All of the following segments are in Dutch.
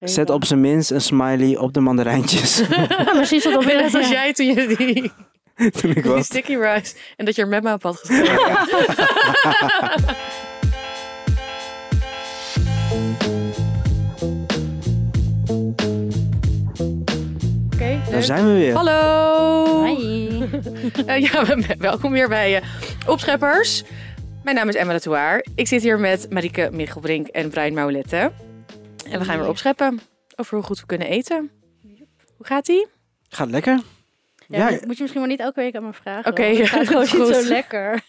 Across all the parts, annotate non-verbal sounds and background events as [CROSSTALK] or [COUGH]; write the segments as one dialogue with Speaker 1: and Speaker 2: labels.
Speaker 1: Zet op zijn minst een smiley op de mandarijntjes. [LAUGHS]
Speaker 2: Ja, misschien zat dat
Speaker 3: Ik ben
Speaker 2: weer
Speaker 3: [LAUGHS] net als jij toen je die,
Speaker 1: Toen ik
Speaker 3: die
Speaker 1: was.
Speaker 3: sticky rice en dat je er met me op had
Speaker 1: [LAUGHS]
Speaker 3: geschreven. Oké,
Speaker 1: Daar
Speaker 3: leuk.
Speaker 1: zijn we weer.
Speaker 3: Hallo!
Speaker 2: Hi.
Speaker 3: Eh, ja, we- welkom weer bij eh, Opscheppers. Mijn naam is Emma Latouaar. Ik zit hier met Marike Michelbrink en Brian Maulette. En we gaan weer opscheppen over hoe goed we kunnen eten. Hoe gaat ie?
Speaker 1: Gaat lekker?
Speaker 2: Ja,
Speaker 1: Ja,
Speaker 2: dat moet je misschien maar niet elke week aan me vragen.
Speaker 3: Oké,
Speaker 2: want het gaat gewoon
Speaker 3: is
Speaker 2: niet
Speaker 3: goed.
Speaker 2: zo lekker.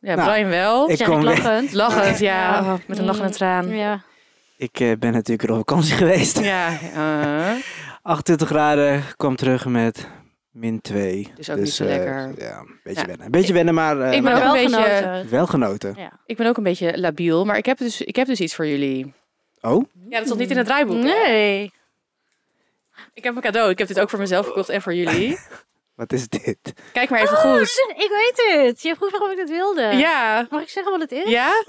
Speaker 3: Ja,
Speaker 1: Nou,
Speaker 3: Brian wel.
Speaker 1: ik
Speaker 2: zeg
Speaker 1: kom
Speaker 2: ik
Speaker 1: weer.
Speaker 2: lachend.
Speaker 3: Lachend, ja.
Speaker 2: Ja.
Speaker 3: Oh, met een lach en een traan. Ja,
Speaker 2: Ja.
Speaker 1: Ik eh, ben natuurlijk weer op vakantie [LAUGHS] geweest.
Speaker 3: eh,
Speaker 1: 28 graden, kwam terug met min 2.
Speaker 3: Dus ook niet zo lekker.
Speaker 1: Ja, een beetje
Speaker 3: Ja.
Speaker 1: wennen. Een beetje wennen, maar eh,
Speaker 3: Ik ben
Speaker 2: Maar
Speaker 3: ook
Speaker 2: wel
Speaker 3: een beetje-
Speaker 2: genoten.
Speaker 1: wel genoten.
Speaker 2: Ja.
Speaker 3: ik ben ook een beetje labiel, maar ik heb dus, ik heb dus iets voor jullie.
Speaker 1: Oh,
Speaker 3: Ja, dat stond niet in het draaiboek.
Speaker 2: Nee.
Speaker 3: Ik heb een cadeau. Ik heb dit ook voor mezelf gekocht en voor [LAUGHS] jullie.
Speaker 1: wat is dit?
Speaker 3: Kijk maar even
Speaker 2: Oh,
Speaker 3: goed.
Speaker 2: dit is- ik weet het. Je vroeg waarom ik dit wilde.
Speaker 3: Ah. Ja.
Speaker 2: Mag ik zeggen wat het is?
Speaker 3: Ja?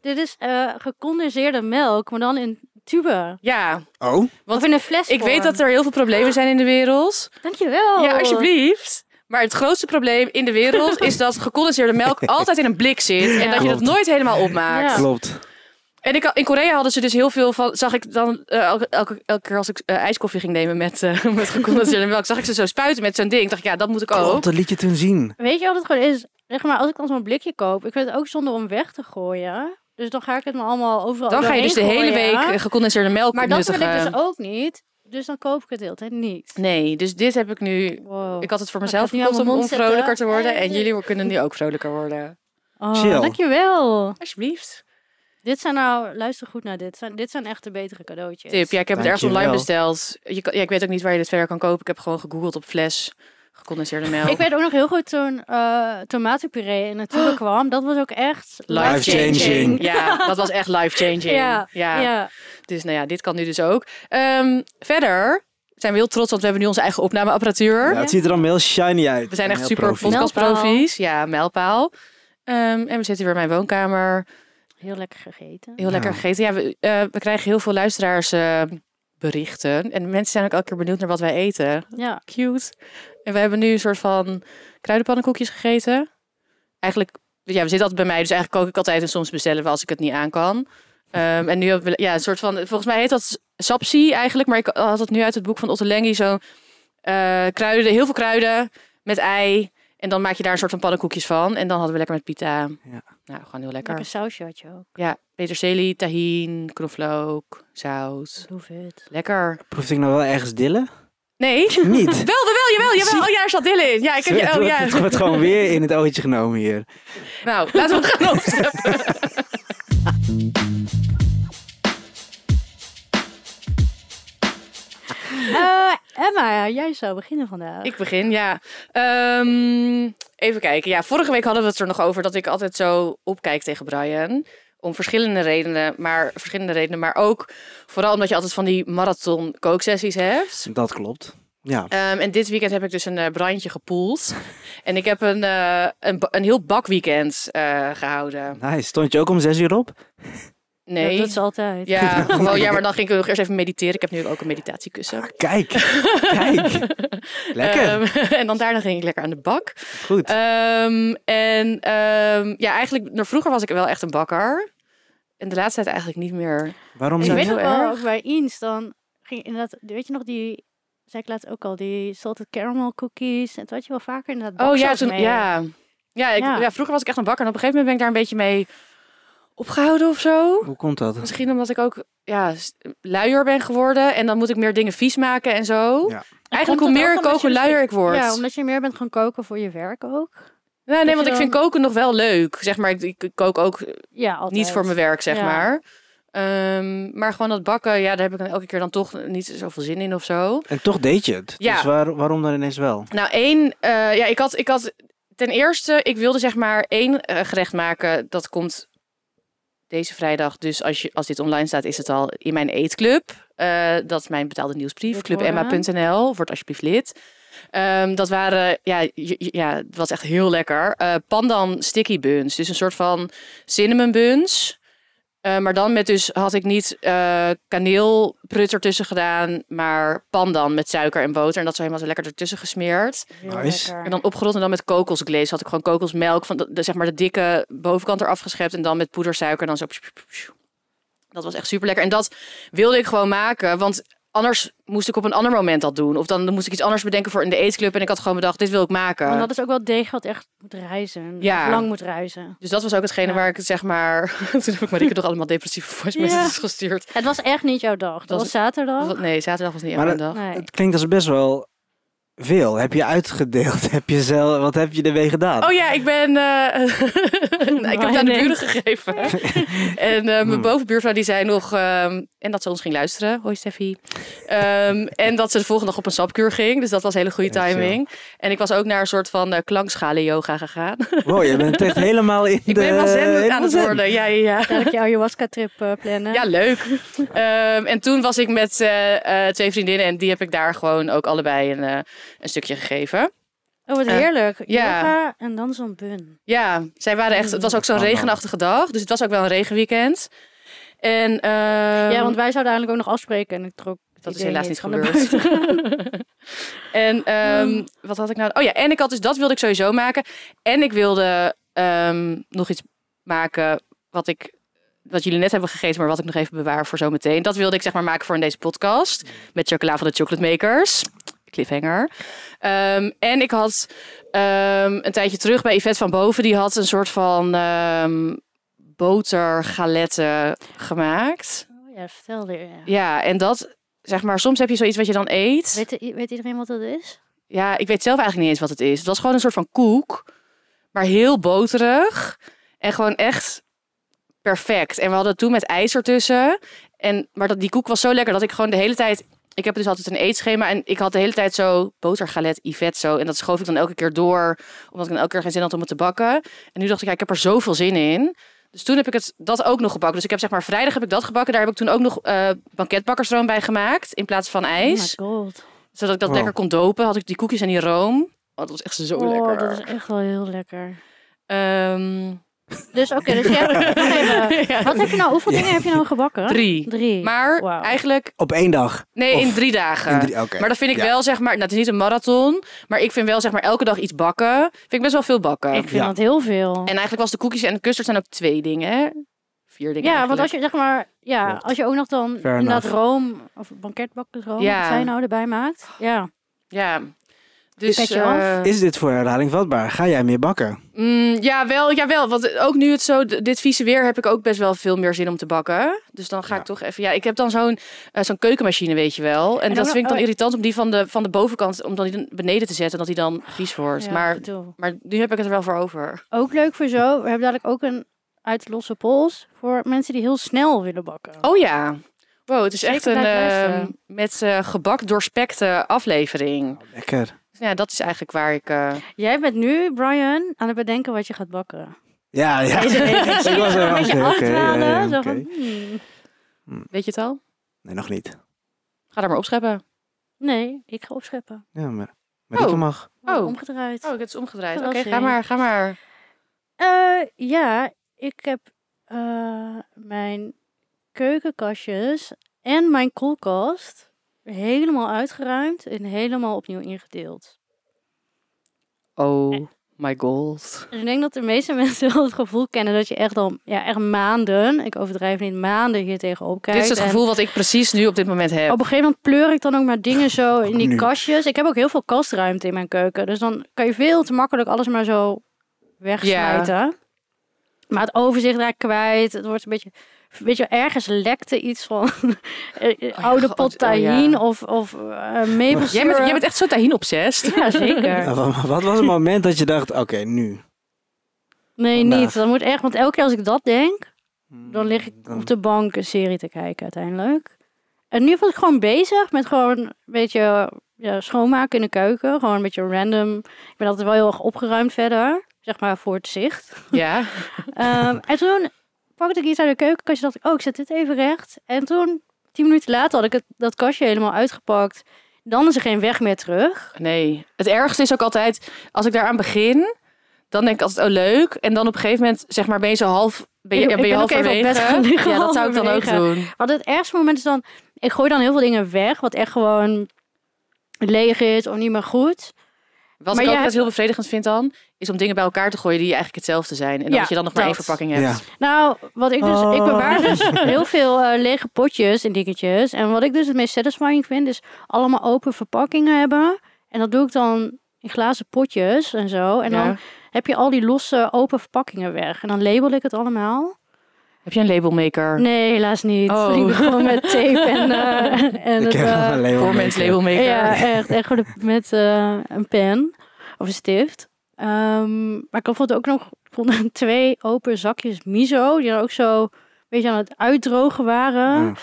Speaker 2: Dit is eh, gecondenseerde melk, maar dan in tube.
Speaker 3: Ja.
Speaker 1: Oh,
Speaker 2: Of in een fles.
Speaker 3: Ik weet dat er heel veel problemen zijn in de wereld.
Speaker 2: Dankjewel.
Speaker 3: Ja, alsjeblieft. Maar het grootste probleem in de wereld is dat gecondenseerde [LAUGHS] melk altijd in een blik zit. En
Speaker 2: Ja.
Speaker 3: dat je dat
Speaker 1: Klopt.
Speaker 3: nooit helemaal opmaakt.
Speaker 2: Ja.
Speaker 1: klopt.
Speaker 3: Oh. En ik, in Korea hadden ze dus heel veel van. Zag ik dan eh, elke, elke, elke keer als ik eh, ijskoffie ging nemen met, eh, [LAUGHS] met gecondenseerde melk, zag ik ze zo spuiten met zo'n ding. Dacht ik, ja, dat moet ik ook.
Speaker 1: Klopt, dat liet je toen zien.
Speaker 2: Weet je wat het gewoon is? Zeg maar, als ik dan zo'n blikje koop, ik vind het ook zonde om weg te gooien. Dus dan ga ik het me allemaal overal
Speaker 3: Dan ga je dus de
Speaker 2: doorheen
Speaker 3: hele week
Speaker 2: gooien.
Speaker 3: eh, gecondenseerde melk
Speaker 2: Maar dat wil
Speaker 3: nuttigen.
Speaker 2: ik dus ook niet. Dus dan koop ik het de hele tijd niet.
Speaker 3: Nee, dus dit heb ik nu.
Speaker 2: Wow.
Speaker 3: Ik had het voor
Speaker 2: Ik ga
Speaker 3: mezelf
Speaker 2: het nu aan
Speaker 3: gekocht om
Speaker 2: mijn mond zetten.
Speaker 3: onvrolijker te worden. En jullie kunnen nu ook vrolijker worden.
Speaker 2: Oh,
Speaker 1: Chill.
Speaker 2: Dankjewel.
Speaker 3: Alsjeblieft. Yes.
Speaker 2: Dit zijn nou, luister goed naar dit. Zijn, dit zijn echt de betere cadeautjes.
Speaker 3: Tip, ja, ik heb het ergens online
Speaker 1: Dankjewel.
Speaker 3: besteld. Je, kan- ja, ik weet ook niet waar je dit verder kan kopen. Ik heb gewoon gegoogeld op fles gecondenseerde melk.
Speaker 2: Ik weet ook nog heel goed toen eh tomatenpuree in het
Speaker 3: [GASPS]
Speaker 2: tube kwam. Dat was ook echt
Speaker 1: Life-changing.
Speaker 2: life-changing.
Speaker 3: Ja, dat was echt life-changing. Ja,
Speaker 2: Ja, ja.
Speaker 3: dus nou ja, dit kan nu dus ook. Ehm, verder zijn we heel trots, want we hebben nu onze eigen opnameapparatuur.
Speaker 1: Ja, het ziet er allemaal heel shiny uit.
Speaker 3: We zijn echt
Speaker 1: Heel
Speaker 3: super
Speaker 1: profi. Nou,
Speaker 3: podcastprofies. Ja, mijlpaal. Ehm, en we zitten weer in mijn woonkamer.
Speaker 2: Heel lekker gegeten.
Speaker 3: Heel lekker
Speaker 1: Nou.
Speaker 3: gegeten. Ja, we, eh, we krijgen heel veel luisteraars... eh, berichten. En mensen zijn ook elke keer benieuwd naar wat wij eten.
Speaker 2: Ja.
Speaker 3: Cute. En we hebben nu een soort van kruidenpannenkoekjes gegeten. Eigenlijk, ja, we zitten altijd bij mij, dus eigenlijk kook ik altijd en soms bestellen we als ik het niet aan kan. Ehm, en nu hebben we, ja, een soort van, volgens mij heet dat sapsi eigenlijk, maar ik had het nu uit het boek van Otto Lengi, zo eh, kruiden, heel veel kruiden met ei. En dan maak je daar een soort van pannenkoekjes van. En dan hadden we lekker met pita.
Speaker 1: Ja.
Speaker 3: Nou, gewoon heel lekker.
Speaker 2: Lekker sausje had je ook.
Speaker 3: Ja, peterselie, tahin, knoflook, zout.
Speaker 2: Ik hoef het.
Speaker 3: Lekker.
Speaker 1: Proefde ik nou wel ergens dillen?
Speaker 3: Nee?
Speaker 1: Niet.
Speaker 3: [LAUGHS] Wel, wel, jawel, jawel. Oh ja, er zat Dylan in. Ja, ik heb
Speaker 1: het,
Speaker 3: je... Oh
Speaker 1: wordt,
Speaker 3: ja.
Speaker 1: het wordt gewoon weer in het oogje genomen hier.
Speaker 3: Nou, [LAUGHS] laten we gaan opscheppen.
Speaker 2: Eh, Emma, jij zou beginnen vandaag.
Speaker 3: Ik begin, ja. Ehm, even kijken. Ja, vorige week hadden we het er nog over dat ik altijd zo opkijk tegen Brian. Om verschillende redenen, maar, verschillende redenen, maar ook vooral omdat je altijd van die marathon kooksessies hebt.
Speaker 1: Dat klopt. Ja.
Speaker 3: Ehm, en dit weekend heb ik dus een eh, brandje gepoeld. En ik heb een, eh, een, ba- een heel bakweekend eh, gehouden.
Speaker 1: Nice. Stond je ook om zes uur op?
Speaker 3: Nee.
Speaker 2: Dat is altijd.
Speaker 3: ja, gewoon, ja, maar dan ging ik nog eerst even mediteren. Ik heb nu ook een meditatiekussen.
Speaker 2: Ah,
Speaker 3: [LAUGHS]
Speaker 1: Kijk. Kijk. Lekker.
Speaker 3: Ehm, [LAUGHS] en dan daarna ging ik lekker aan de bak.
Speaker 1: Goed.
Speaker 3: Ehm, en ehm, ja, eigenlijk, nou, vroeger was ik wel echt een bakker. En de laatste tijd eigenlijk niet meer.
Speaker 1: Waarom
Speaker 2: En
Speaker 1: niet?
Speaker 2: ik weet
Speaker 3: heel
Speaker 2: nog wel,
Speaker 3: erg.
Speaker 2: ook bij Eens, dan ging inderdaad, weet je nog die, zei ik laatst ook al, die salted caramel cookies. En toen had je wel vaker inderdaad
Speaker 3: Oh ja,
Speaker 2: baksaus
Speaker 3: toen,
Speaker 2: mee.
Speaker 3: ja. Ja, ik, ja.
Speaker 2: Ja.
Speaker 3: vroeger was ik echt een bakker. En op een gegeven moment ben ik daar een beetje mee opgehouden of zo.
Speaker 1: Hoe komt dat?
Speaker 3: Misschien omdat ik ook ja, s- luier ben geworden. En dan moet ik meer dingen vies maken en zo.
Speaker 1: Ja.
Speaker 3: Eigenlijk hoe
Speaker 2: Komt dat
Speaker 3: meer
Speaker 2: ook
Speaker 3: ik
Speaker 2: omdat
Speaker 3: kook, hoe
Speaker 2: je
Speaker 3: luier ik
Speaker 2: misschien-
Speaker 3: word.
Speaker 2: Ja, omdat je meer bent gaan koken voor je werk ook.
Speaker 3: nou, nee,
Speaker 2: dat
Speaker 3: want
Speaker 2: je
Speaker 3: ik vind koken nog wel leuk. Zeg maar, ik, ik kook ook
Speaker 2: Ja, altijd.
Speaker 3: Niet voor mijn werk, zeg
Speaker 2: Ja.
Speaker 3: maar. Ehm, maar gewoon dat bakken, ja, daar heb ik dan elke keer dan toch niet zoveel zin in of zo.
Speaker 1: En toch deed je het.
Speaker 3: Ja.
Speaker 1: Dus waar, waarom dan ineens wel?
Speaker 3: Nou, één, eh, ja, ik had, ik had ten eerste, ik wilde zeg maar één eh, gerecht maken. Dat komt deze vrijdag, dus als, je, als dit online staat, is het al in mijn eetclub. Eh, dat is mijn betaalde nieuwsbrief,
Speaker 2: Lid worden.
Speaker 3: clubemma.nl. Word alsjeblieft lid. Ehm, dat waren, ja, j- j- ja, het was echt heel lekker. Eh pandan sticky buns, dus een soort van cinnamon buns. Eh, maar dan met dus, had ik niet eh kaneelprut ertussen gedaan, maar pandan met suiker en boter. En dat zo helemaal zo lekker ertussen gesmeerd.
Speaker 2: Heel
Speaker 1: Nice.
Speaker 2: lekker.
Speaker 3: En dan opgerold en dan met kokosglaze had ik gewoon kokosmelk van de, de- zeg maar de dikke bovenkant eraf geschept en dan met poedersuiker en dan zo. pssch, pssch, pssch. Dat was echt super lekker. En dat wilde ik gewoon maken, want anders moest ik op een ander moment dat doen. Of dan, dan moest ik iets anders bedenken voor in de eetclub en ik had gewoon bedacht, dit wil ik maken.
Speaker 2: Want Oh, dat is ook wel deeg wat echt moet reizen.
Speaker 3: Ja.
Speaker 2: Of Lang moet reizen.
Speaker 3: Dus dat was ook hetgene
Speaker 2: Ja.
Speaker 3: waar ik het, zeg maar, [LAUGHS] toen heb ik Marieke toch allemaal depressieve voice messages gestuurd.
Speaker 2: Het was echt niet jouw dag. Dat
Speaker 3: Was-
Speaker 2: was, zaterdag.
Speaker 3: Wat- Nee, zaterdag was niet echt
Speaker 1: Maar
Speaker 3: mijn
Speaker 1: dat-
Speaker 3: dag. [LAUGHS]
Speaker 2: Nee.
Speaker 1: Het klinkt als best wel veel. Heb je uitgedeeld? [LAUGHS] Heb je zelf, wat heb je ermee gedaan?
Speaker 3: Oh ja, ik ben. eh, [LAUGHS] nou, ik heb het aan de
Speaker 2: Nee.
Speaker 3: buren [LAUGHS] gegeven. en eh, mijn
Speaker 1: Hmm.
Speaker 3: bovenbuurvrouw die zei nog. ehm, en dat ze ons ging luisteren. Hoi Steffi. Ehm, en dat ze de volgende dag op een sapkuur ging. Dus dat was hele goede
Speaker 1: Ja, chill.
Speaker 3: timing. En ik was ook naar een soort van eh, klankschalen yoga gegaan.
Speaker 1: Wow, je bent echt helemaal in de...
Speaker 3: [LAUGHS] ik ben helemaal zen aan
Speaker 1: helemaal
Speaker 3: het
Speaker 1: zen.
Speaker 3: worden. Ja, ja, ja.
Speaker 2: Dadelijk je ayahuasca-trip eh, plannen.
Speaker 3: Ja, leuk. Ehm, en toen was ik met eh, eh, twee vriendinnen en die heb ik daar gewoon ook allebei een, eh, een stukje gegeven.
Speaker 2: Oh, wat
Speaker 3: Eh,
Speaker 2: heerlijk.
Speaker 3: ja.
Speaker 2: Yoga en dan zo'n bun.
Speaker 3: Ja, zij waren echt. Het was ook zo'n
Speaker 1: Oh, man.
Speaker 3: regenachtige dag, dus het was ook wel een regenweekend. En ehm,
Speaker 2: ja, want wij zouden eigenlijk ook nog afspreken. En ik trok het
Speaker 3: dat is
Speaker 2: idee
Speaker 3: helaas niet
Speaker 2: van de
Speaker 3: gebeurd.
Speaker 2: buiten.
Speaker 3: [LAUGHS] en ehm, wat had ik nou? Oh ja, en ik had dus dat wilde ik sowieso maken. En ik wilde ehm, nog iets maken wat ik wat jullie net hebben gegeten, maar wat ik nog even bewaar voor zometeen. Dat wilde ik zeg maar maken voor in deze podcast met chocola van de chocolate makers. Cliffhanger. Ehm, en ik had ehm, een tijdje terug bij Yvette van Boven, die had een soort van ehm botergaletten gemaakt.
Speaker 2: Oh, ja, vertelde je. Ja.
Speaker 3: Ja, en dat, zeg maar, soms heb je zoiets wat je dan eet.
Speaker 2: Weet, i- weet iedereen wat dat is?
Speaker 3: Ja, ik weet zelf eigenlijk niet eens wat het is. Het was gewoon een soort van koek, maar heel boterig en gewoon echt perfect. En we hadden het toen met ijs ertussen. En, maar dat, die koek was zo lekker dat ik gewoon de hele tijd... Ik heb dus altijd een eetschema en ik had de hele tijd zo botergalet, Yvette zo. En dat schoof ik dan elke keer door, omdat ik dan elke keer geen zin had om het te bakken. En nu dacht ik, ja, ik heb er zoveel zin in. Dus toen heb ik het, dat ook nog gebakken. Dus ik heb zeg maar vrijdag heb ik dat gebakken. Daar heb ik toen ook nog eh banketbakkersroom bij gemaakt in plaats van ijs
Speaker 2: Oh my god.
Speaker 3: zodat ik dat
Speaker 1: Wow.
Speaker 3: lekker kon dopen, had ik die koekjes en die room. Oh, dat was echt zo
Speaker 2: oh,
Speaker 3: lekker.
Speaker 2: dat is echt wel heel lekker.
Speaker 3: Ehm,
Speaker 2: Dus oké, dus je hebt... wacht even.
Speaker 1: [LAUGHS]
Speaker 3: [LAUGHS] ja,
Speaker 2: Wat heb je nou, hoeveel dingen heb je nou gebakken?
Speaker 3: drie.
Speaker 2: Drie.
Speaker 3: Maar
Speaker 2: Wauw.
Speaker 3: eigenlijk,
Speaker 1: Op één dag.
Speaker 3: nee,
Speaker 1: Of
Speaker 3: in drie dagen.
Speaker 1: In drie- Oké.
Speaker 3: Maar dat vind ik
Speaker 1: ja.
Speaker 3: wel, zeg maar, nou, het is niet een marathon, maar ik vind wel, zeg maar, elke dag iets bakken. Vind ik best wel veel bakken.
Speaker 2: ik vind
Speaker 1: ja.
Speaker 2: dat heel veel.
Speaker 3: En eigenlijk was de koekjes en de custard zijn ook twee dingen, hè? Vier dingen
Speaker 2: Ja, want als
Speaker 3: eigenlijk.
Speaker 2: je zeg maar, ja,
Speaker 1: Klopt.
Speaker 2: als je ook nog dan
Speaker 1: Fair
Speaker 2: inderdaad
Speaker 1: enough.
Speaker 2: room of banketbakkersroom,
Speaker 3: Ja.
Speaker 2: wat zij nou erbij maakt. Ja.
Speaker 3: Ja. Dus,
Speaker 2: Pet je af?
Speaker 3: eh,
Speaker 1: Is dit voor herhaling vatbaar? Ga jij meer bakken?
Speaker 3: Mm, ja, wel, ja, wel. Want ook nu het zo, d- dit vieze weer, heb ik ook best wel veel meer zin om te bakken. Dus dan ga
Speaker 1: Ja.
Speaker 3: ik toch even. Ja, ik heb dan zo'n eh, zo'n keukenmachine, weet je wel. En,
Speaker 2: dan-
Speaker 3: dat vind ik dan
Speaker 2: oh.
Speaker 3: irritant om die van de, van de bovenkant, om dan die dan beneden te zetten, dat die dan vies wordt.
Speaker 2: ja,
Speaker 3: maar,
Speaker 2: bedoel.
Speaker 3: maar nu heb ik het er wel voor over.
Speaker 2: Ook leuk voor zo. We hebben dadelijk ook een uit de losse pols voor mensen die heel snel willen bakken.
Speaker 3: Oh ja. Wow, het is
Speaker 2: Zeker
Speaker 3: echt een
Speaker 2: blijven
Speaker 3: eh,
Speaker 2: luisteren.
Speaker 3: met eh, gebak doorspekte aflevering.
Speaker 1: Lekker.
Speaker 3: Dus nou ja, dat is eigenlijk waar ik. eh,
Speaker 2: Jij bent nu, Brian, aan het bedenken wat je gaat bakken.
Speaker 1: Ja, ja.
Speaker 2: Deze week.
Speaker 1: [LAUGHS] Ik was er
Speaker 2: Een beetje
Speaker 1: oké, oké, ja,
Speaker 2: afdwalen,
Speaker 1: ja,
Speaker 2: zo
Speaker 1: oké.
Speaker 2: van, hmm.
Speaker 3: weet je het al?
Speaker 1: Nee, nog niet.
Speaker 3: Ga daar maar opscheppen.
Speaker 2: Nee, ik ga opscheppen.
Speaker 1: Ja, maar... Marieke
Speaker 3: Oh.
Speaker 1: mag.
Speaker 2: Oh,
Speaker 3: Oh.
Speaker 2: omgedraaid.
Speaker 3: Oh, ik heb het omgedraaid. Oké,
Speaker 2: Verrassing.
Speaker 3: ga maar, ga maar.
Speaker 2: Eh, ja, ik heb eh, mijn keukenkastjes en mijn koelkast helemaal uitgeruimd en helemaal opnieuw ingedeeld.
Speaker 3: Oh my god.
Speaker 2: Dus ik denk dat de meeste [LAUGHS] mensen wel het gevoel kennen dat je echt al ja, echt maanden, ik overdrijf niet, maanden hier tegenop kijkt.
Speaker 3: dit is het
Speaker 2: en-
Speaker 3: gevoel wat ik precies nu op dit moment heb.
Speaker 2: Op een gegeven moment pleur ik dan ook maar dingen zo in die
Speaker 1: Nu.
Speaker 2: kastjes. Ik heb ook heel veel kastruimte in mijn keuken. Dus dan kan je veel te makkelijk alles maar zo wegsmijten. Maar het overzicht daar kwijt. Het wordt een beetje... Weet je, ergens lekte iets van [LAUGHS] eh, eh,
Speaker 3: ja,
Speaker 2: oude
Speaker 3: God,
Speaker 2: pot
Speaker 3: oh ja.
Speaker 2: tahin of, of eh maple
Speaker 3: Jij bent,
Speaker 2: syrup.
Speaker 3: jij bent echt zo tahin
Speaker 2: [LAUGHS]
Speaker 3: obsessed.
Speaker 2: Ja, zeker.
Speaker 1: Nou, wat, wat was het moment dat je dacht, oké, nu.
Speaker 2: Nee,
Speaker 1: Vandaag.
Speaker 2: niet. Dat moet echt... Want elke keer als ik dat denk, dan lig ik
Speaker 1: Dan-
Speaker 2: op de bank een serie te kijken uiteindelijk. En nu was ik gewoon bezig met gewoon een beetje ja, schoonmaken in de keuken. Gewoon een beetje random. Ik ben altijd wel heel erg opgeruimd verder. Zeg maar voor het
Speaker 3: [LAUGHS]
Speaker 2: zicht.
Speaker 3: Ja.
Speaker 2: Ehm, en toen pakte ik iets uit de keukenkastje. Dacht ik, oh, ik zet dit even recht. En toen, tien minuten later, had ik het, dat kastje helemaal uitgepakt. Dan is er geen weg meer terug.
Speaker 3: Nee. Het ergste is ook altijd, als ik daaraan begin, dan denk ik altijd, oh leuk. En dan op een gegeven moment, zeg maar, ben je zo half Ben je,
Speaker 2: Ik- ik
Speaker 3: ben je
Speaker 2: ben ook even op
Speaker 3: halverwege?
Speaker 2: bed gaan liggen,
Speaker 3: ja, dat zou ik dan ook
Speaker 2: halverwege.
Speaker 3: doen.
Speaker 2: Want het ergste moment is dan... Ik gooi dan heel veel dingen weg, wat echt gewoon leeg is of niet meer goed. Maar
Speaker 3: Wat ik ook
Speaker 2: jij-
Speaker 3: altijd heel bevredigend vind dan, is om dingen bij elkaar te gooien die eigenlijk hetzelfde zijn. En
Speaker 2: Ja,
Speaker 3: dat je dan nog maar één
Speaker 2: dat.
Speaker 3: verpakking
Speaker 1: Ja.
Speaker 3: hebt.
Speaker 2: Nou, wat ik dus... Ik
Speaker 1: Oh.
Speaker 2: bewaar
Speaker 1: [LAUGHS]
Speaker 2: dus heel veel eh, lege potjes en dingetjes. En wat ik dus het meest satisfying vind, is allemaal open verpakkingen hebben. En dat doe ik dan in glazen potjes en zo. En dan
Speaker 3: Ja.
Speaker 2: heb je al die losse open verpakkingen weg. En dan label ik het allemaal.
Speaker 3: Heb je een labelmaker?
Speaker 2: Nee, helaas niet. [LAUGHS]
Speaker 3: Oh.
Speaker 2: Ik doe gewoon met tape
Speaker 1: [LAUGHS]
Speaker 2: en... eh, en
Speaker 1: Ik
Speaker 2: het,
Speaker 1: ken wel
Speaker 2: eh,
Speaker 1: een label
Speaker 3: Voor
Speaker 1: maker.
Speaker 3: mensen labelmaker.
Speaker 2: Ja, echt. echt gewoon met eh, een pen of een stift. Ehm, maar ik had bijvoorbeeld ook nog ik vond [LAUGHS] twee open zakjes miso, die dan ook zo een beetje aan het uitdrogen waren.
Speaker 1: Ja.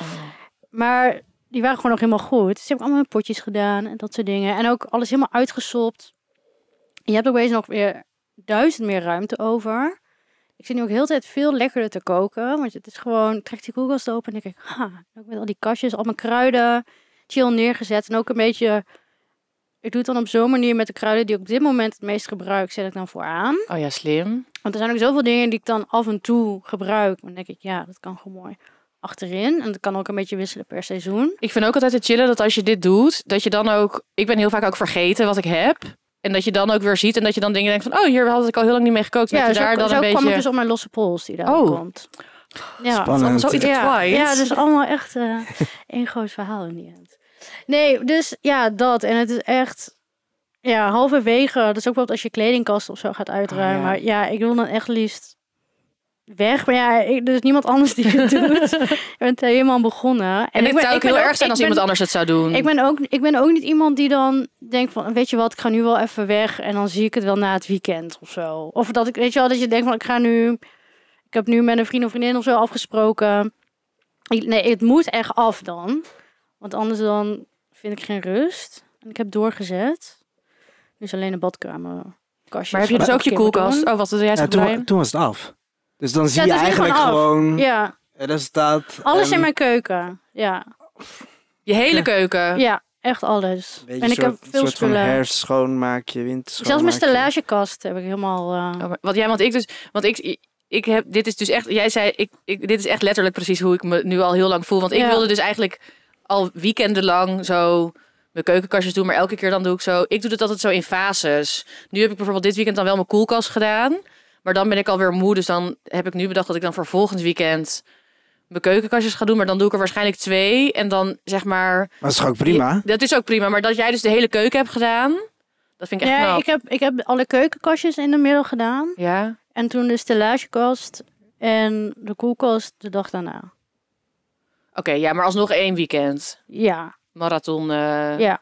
Speaker 2: Maar die waren gewoon nog helemaal goed. Dus die heb ik allemaal in potjes gedaan en dat soort dingen. En ook alles helemaal uitgesopt. En je hebt ook opeens nog weer duizend meer ruimte over. Ik zit nu ook heel de tijd veel lekkerder te koken. Want het is gewoon, ik trek die koelkast open en denk ik, ha, ook met al die kastjes, al mijn kruiden, chill neergezet. En ook een beetje, ik doe het dan op zo'n manier met de kruiden die ik op dit moment het meest gebruik, zet ik dan vooraan.
Speaker 3: Oh ja, slim.
Speaker 2: Want er zijn ook zoveel dingen die ik dan af en toe gebruik. Dan denk ik, ja, dat kan gewoon mooi achterin. En dat kan ook een beetje wisselen per seizoen.
Speaker 3: Ik vind ook altijd het chillen dat als je dit doet, dat je dan ook... Ik ben heel vaak ook vergeten wat ik heb. En dat je dan ook weer ziet en dat je dan dingen denkt van... Oh, hier had ik al heel lang niet mee gekookt. Ja,
Speaker 2: Ja,
Speaker 3: je
Speaker 2: zo,
Speaker 3: daar dan
Speaker 2: zo
Speaker 3: een beetje...
Speaker 2: kwam ik dus op mijn losse pols die daar
Speaker 3: Oh.
Speaker 2: komt. Ja.
Speaker 1: Spannend.
Speaker 3: zo iets-
Speaker 2: Ja,
Speaker 3: Twice.
Speaker 2: ja, dus allemaal echt eh één groot verhaal in die end. Nee, dus ja, dat. En het is echt, ja, halverwege. Dat is ook bijvoorbeeld als je kledingkast of zo gaat uitruimen.
Speaker 3: Oh,
Speaker 2: Ah, ja. ik wil dan echt liefst weg. Maar ja, ik, er is niemand anders die [LAUGHS] het doet. ik ben helemaal begonnen. En,
Speaker 3: En,
Speaker 2: ik
Speaker 3: het
Speaker 2: ben,
Speaker 3: zou
Speaker 2: ik
Speaker 3: ook
Speaker 2: ben
Speaker 3: heel erg
Speaker 2: ik
Speaker 3: zijn als
Speaker 2: ben-
Speaker 3: iemand anders het zou doen.
Speaker 2: ik ben, ook, ik ben ook niet iemand die dan denkt van, weet je wat, ik ga nu wel even weg en dan zie ik het wel na het weekend of zo. Of dat ik, weet je wel, dat je denkt van, ik ga nu, ik heb nu met een vriend of vriendin of zo afgesproken. Ik- nee, het moet echt af dan. Want anders dan vind ik geen rust. En ik heb doorgezet. Dus alleen een badkamer. Kastjes,
Speaker 3: Maar heb je
Speaker 2: wat
Speaker 3: dus ook
Speaker 2: ik
Speaker 3: je
Speaker 2: een keer moet
Speaker 3: koelkast?
Speaker 2: doen.
Speaker 3: Oh, wat doe jij
Speaker 1: Ja,
Speaker 3: het gebruiken?
Speaker 1: toen, toen was het af. Dus dan zie
Speaker 2: Ja,
Speaker 1: je
Speaker 2: toen is het
Speaker 1: eigenlijk
Speaker 2: gewoon af.
Speaker 1: gewoon
Speaker 3: Oh.
Speaker 2: Ja,
Speaker 1: resultaat.
Speaker 2: alles
Speaker 3: Ehm,
Speaker 1: en-
Speaker 2: in mijn keuken. Ja,
Speaker 3: Je hele keuken.
Speaker 2: ja echt alles.
Speaker 1: Beetje
Speaker 2: En ik
Speaker 1: soort,
Speaker 2: heb veel
Speaker 1: soort van
Speaker 2: spullen.
Speaker 1: herfst schoonmaak je, winter
Speaker 2: Zelfs mijn
Speaker 1: schoonmaak
Speaker 2: stellagekast heb ik helemaal... eh,
Speaker 3: Oh, maar- want ja, want ik dus, want ik, ik heb, dit is dus echt, jij zei, ik, ik, dit is echt letterlijk precies hoe ik me nu al heel lang voel. Want ik
Speaker 2: Ja.
Speaker 3: wilde dus eigenlijk al weekendenlang zo mijn keukenkastjes doen, maar elke keer dan doe ik zo, ik doe het altijd zo in fases. Nu heb ik bijvoorbeeld dit weekend dan wel mijn koelkast gedaan, maar dan ben ik alweer moe, dus dan heb ik nu bedacht dat ik dan voor volgend weekend mijn keukenkastjes ga doen, maar dan doe ik er waarschijnlijk twee en dan zeg maar,
Speaker 1: je. Maar dat is toch ook prima.
Speaker 3: dat is ook prima, maar dat jij dus de hele keuken hebt gedaan, dat vind ik echt
Speaker 2: Ja,
Speaker 3: knap.
Speaker 2: ik heb, ik heb alle keukenkastjes in de middag gedaan.
Speaker 3: Ja,
Speaker 2: En toen de stellagekast en de koelkast de dag daarna.
Speaker 3: oké, ja, maar alsnog één weekend.
Speaker 2: Ja,
Speaker 3: marathon eh,
Speaker 2: Ja.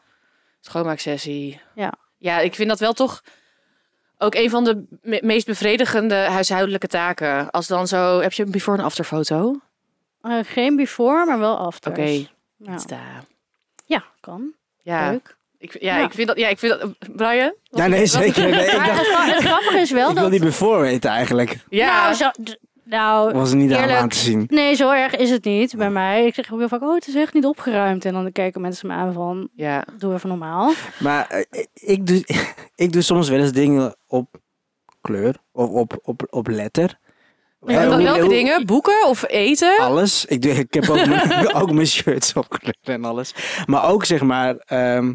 Speaker 3: schoonmaaksessie.
Speaker 2: Ja.
Speaker 3: Ja, ik vind dat wel toch ook een van de me- meest bevredigende huishoudelijke taken. Als dan zo, heb je een before en after foto? Oké,
Speaker 2: Eh, geen before, maar wel after. Ja.
Speaker 3: Insta.
Speaker 2: Ja, kan.
Speaker 3: Ja.
Speaker 2: Leuk.
Speaker 3: Ik, ja,
Speaker 2: Ja.
Speaker 3: ik vind dat, ja, ik vind dat, Brian? Wat
Speaker 1: Ja,
Speaker 3: vind
Speaker 1: nee,
Speaker 3: je- wat-
Speaker 1: zeker. Nee, ik
Speaker 2: [LAUGHS] Maar
Speaker 1: dacht,
Speaker 2: het, gra- het grappige is wel
Speaker 1: ik wil
Speaker 2: dat...
Speaker 1: die before weten eigenlijk.
Speaker 3: Ja,
Speaker 2: Nou, zo, d- nou,
Speaker 1: Was er niet aan
Speaker 2: Eerlijk.
Speaker 1: aan te zien.
Speaker 2: nee, zo erg is het niet bij mij. Ik zeg ook heel vaak, oh, het is echt niet opgeruimd. En dan kijken mensen me aan van,
Speaker 3: ja.
Speaker 2: doe even normaal.
Speaker 1: Maar eh, ik doe, [LAUGHS] ik doe soms wel eens dingen op kleur of op, op, op letter.
Speaker 2: Ja,
Speaker 1: Eh,
Speaker 3: En
Speaker 2: hoe-
Speaker 3: dan welke
Speaker 1: hoe-
Speaker 3: dingen? Boeken of eten?
Speaker 1: Alles. Ik, doe, ik heb ook mijn, ook mijn shirts op kleur en alles. Maar ook zeg maar ehm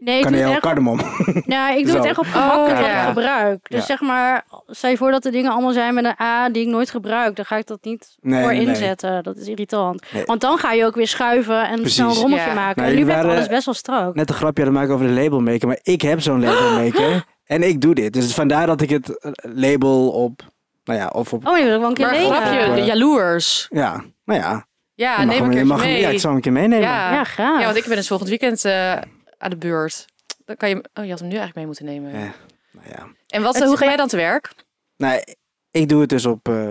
Speaker 2: Nee, ik doe het
Speaker 1: kaneel,
Speaker 2: echt
Speaker 1: cardamom. [LAUGHS]
Speaker 2: Nou, ik doe het
Speaker 1: Zo.
Speaker 2: echt op gemakkelijk
Speaker 3: Oh,
Speaker 2: wat
Speaker 3: ja.
Speaker 2: ik gebruik. Dus
Speaker 1: Ja.
Speaker 2: zeg maar, stel je voor dat de dingen allemaal zijn met een A die ik nooit gebruik, dan ga ik dat niet
Speaker 1: Nee,
Speaker 2: voor
Speaker 1: nee, nee.
Speaker 2: inzetten. Dat is irritant.
Speaker 1: Nee.
Speaker 2: Want dan ga je ook weer schuiven en
Speaker 1: Precies.
Speaker 2: snel een rommeltje
Speaker 3: Ja.
Speaker 1: Nou,
Speaker 2: maken. en nu
Speaker 1: jullie
Speaker 2: werd
Speaker 1: waren-
Speaker 2: alles best wel strak.
Speaker 1: Net een grapje aan het maken over de labelmaker. Maar ik heb zo'n labelmaker. en ik doe dit. Dus vandaar dat ik het eh, label op... Nou ja, of op...
Speaker 2: Oh, nee, wil ik wel een keer
Speaker 3: Maar
Speaker 2: lenen.
Speaker 3: grapje,
Speaker 1: Ja.
Speaker 3: jaloers.
Speaker 1: Ja, nou ja.
Speaker 3: Ja,
Speaker 1: Je mag
Speaker 3: neem
Speaker 1: hem-
Speaker 3: een
Speaker 1: je
Speaker 3: keertje
Speaker 1: mag hem-
Speaker 3: mee.
Speaker 1: Ja, ik zal hem een keer meenemen.
Speaker 3: ja.
Speaker 2: Ja, graag.
Speaker 3: Ja, want ik ben dus volgend weekend eh, aan de beurt. Dan kan je, oh, je had hem nu eigenlijk mee moeten nemen.
Speaker 1: Ja. Nou ja.
Speaker 3: En wat,
Speaker 2: Het
Speaker 3: hoe
Speaker 2: is
Speaker 3: ga jij dan te werk?
Speaker 1: Nou, ik doe het dus op, eh,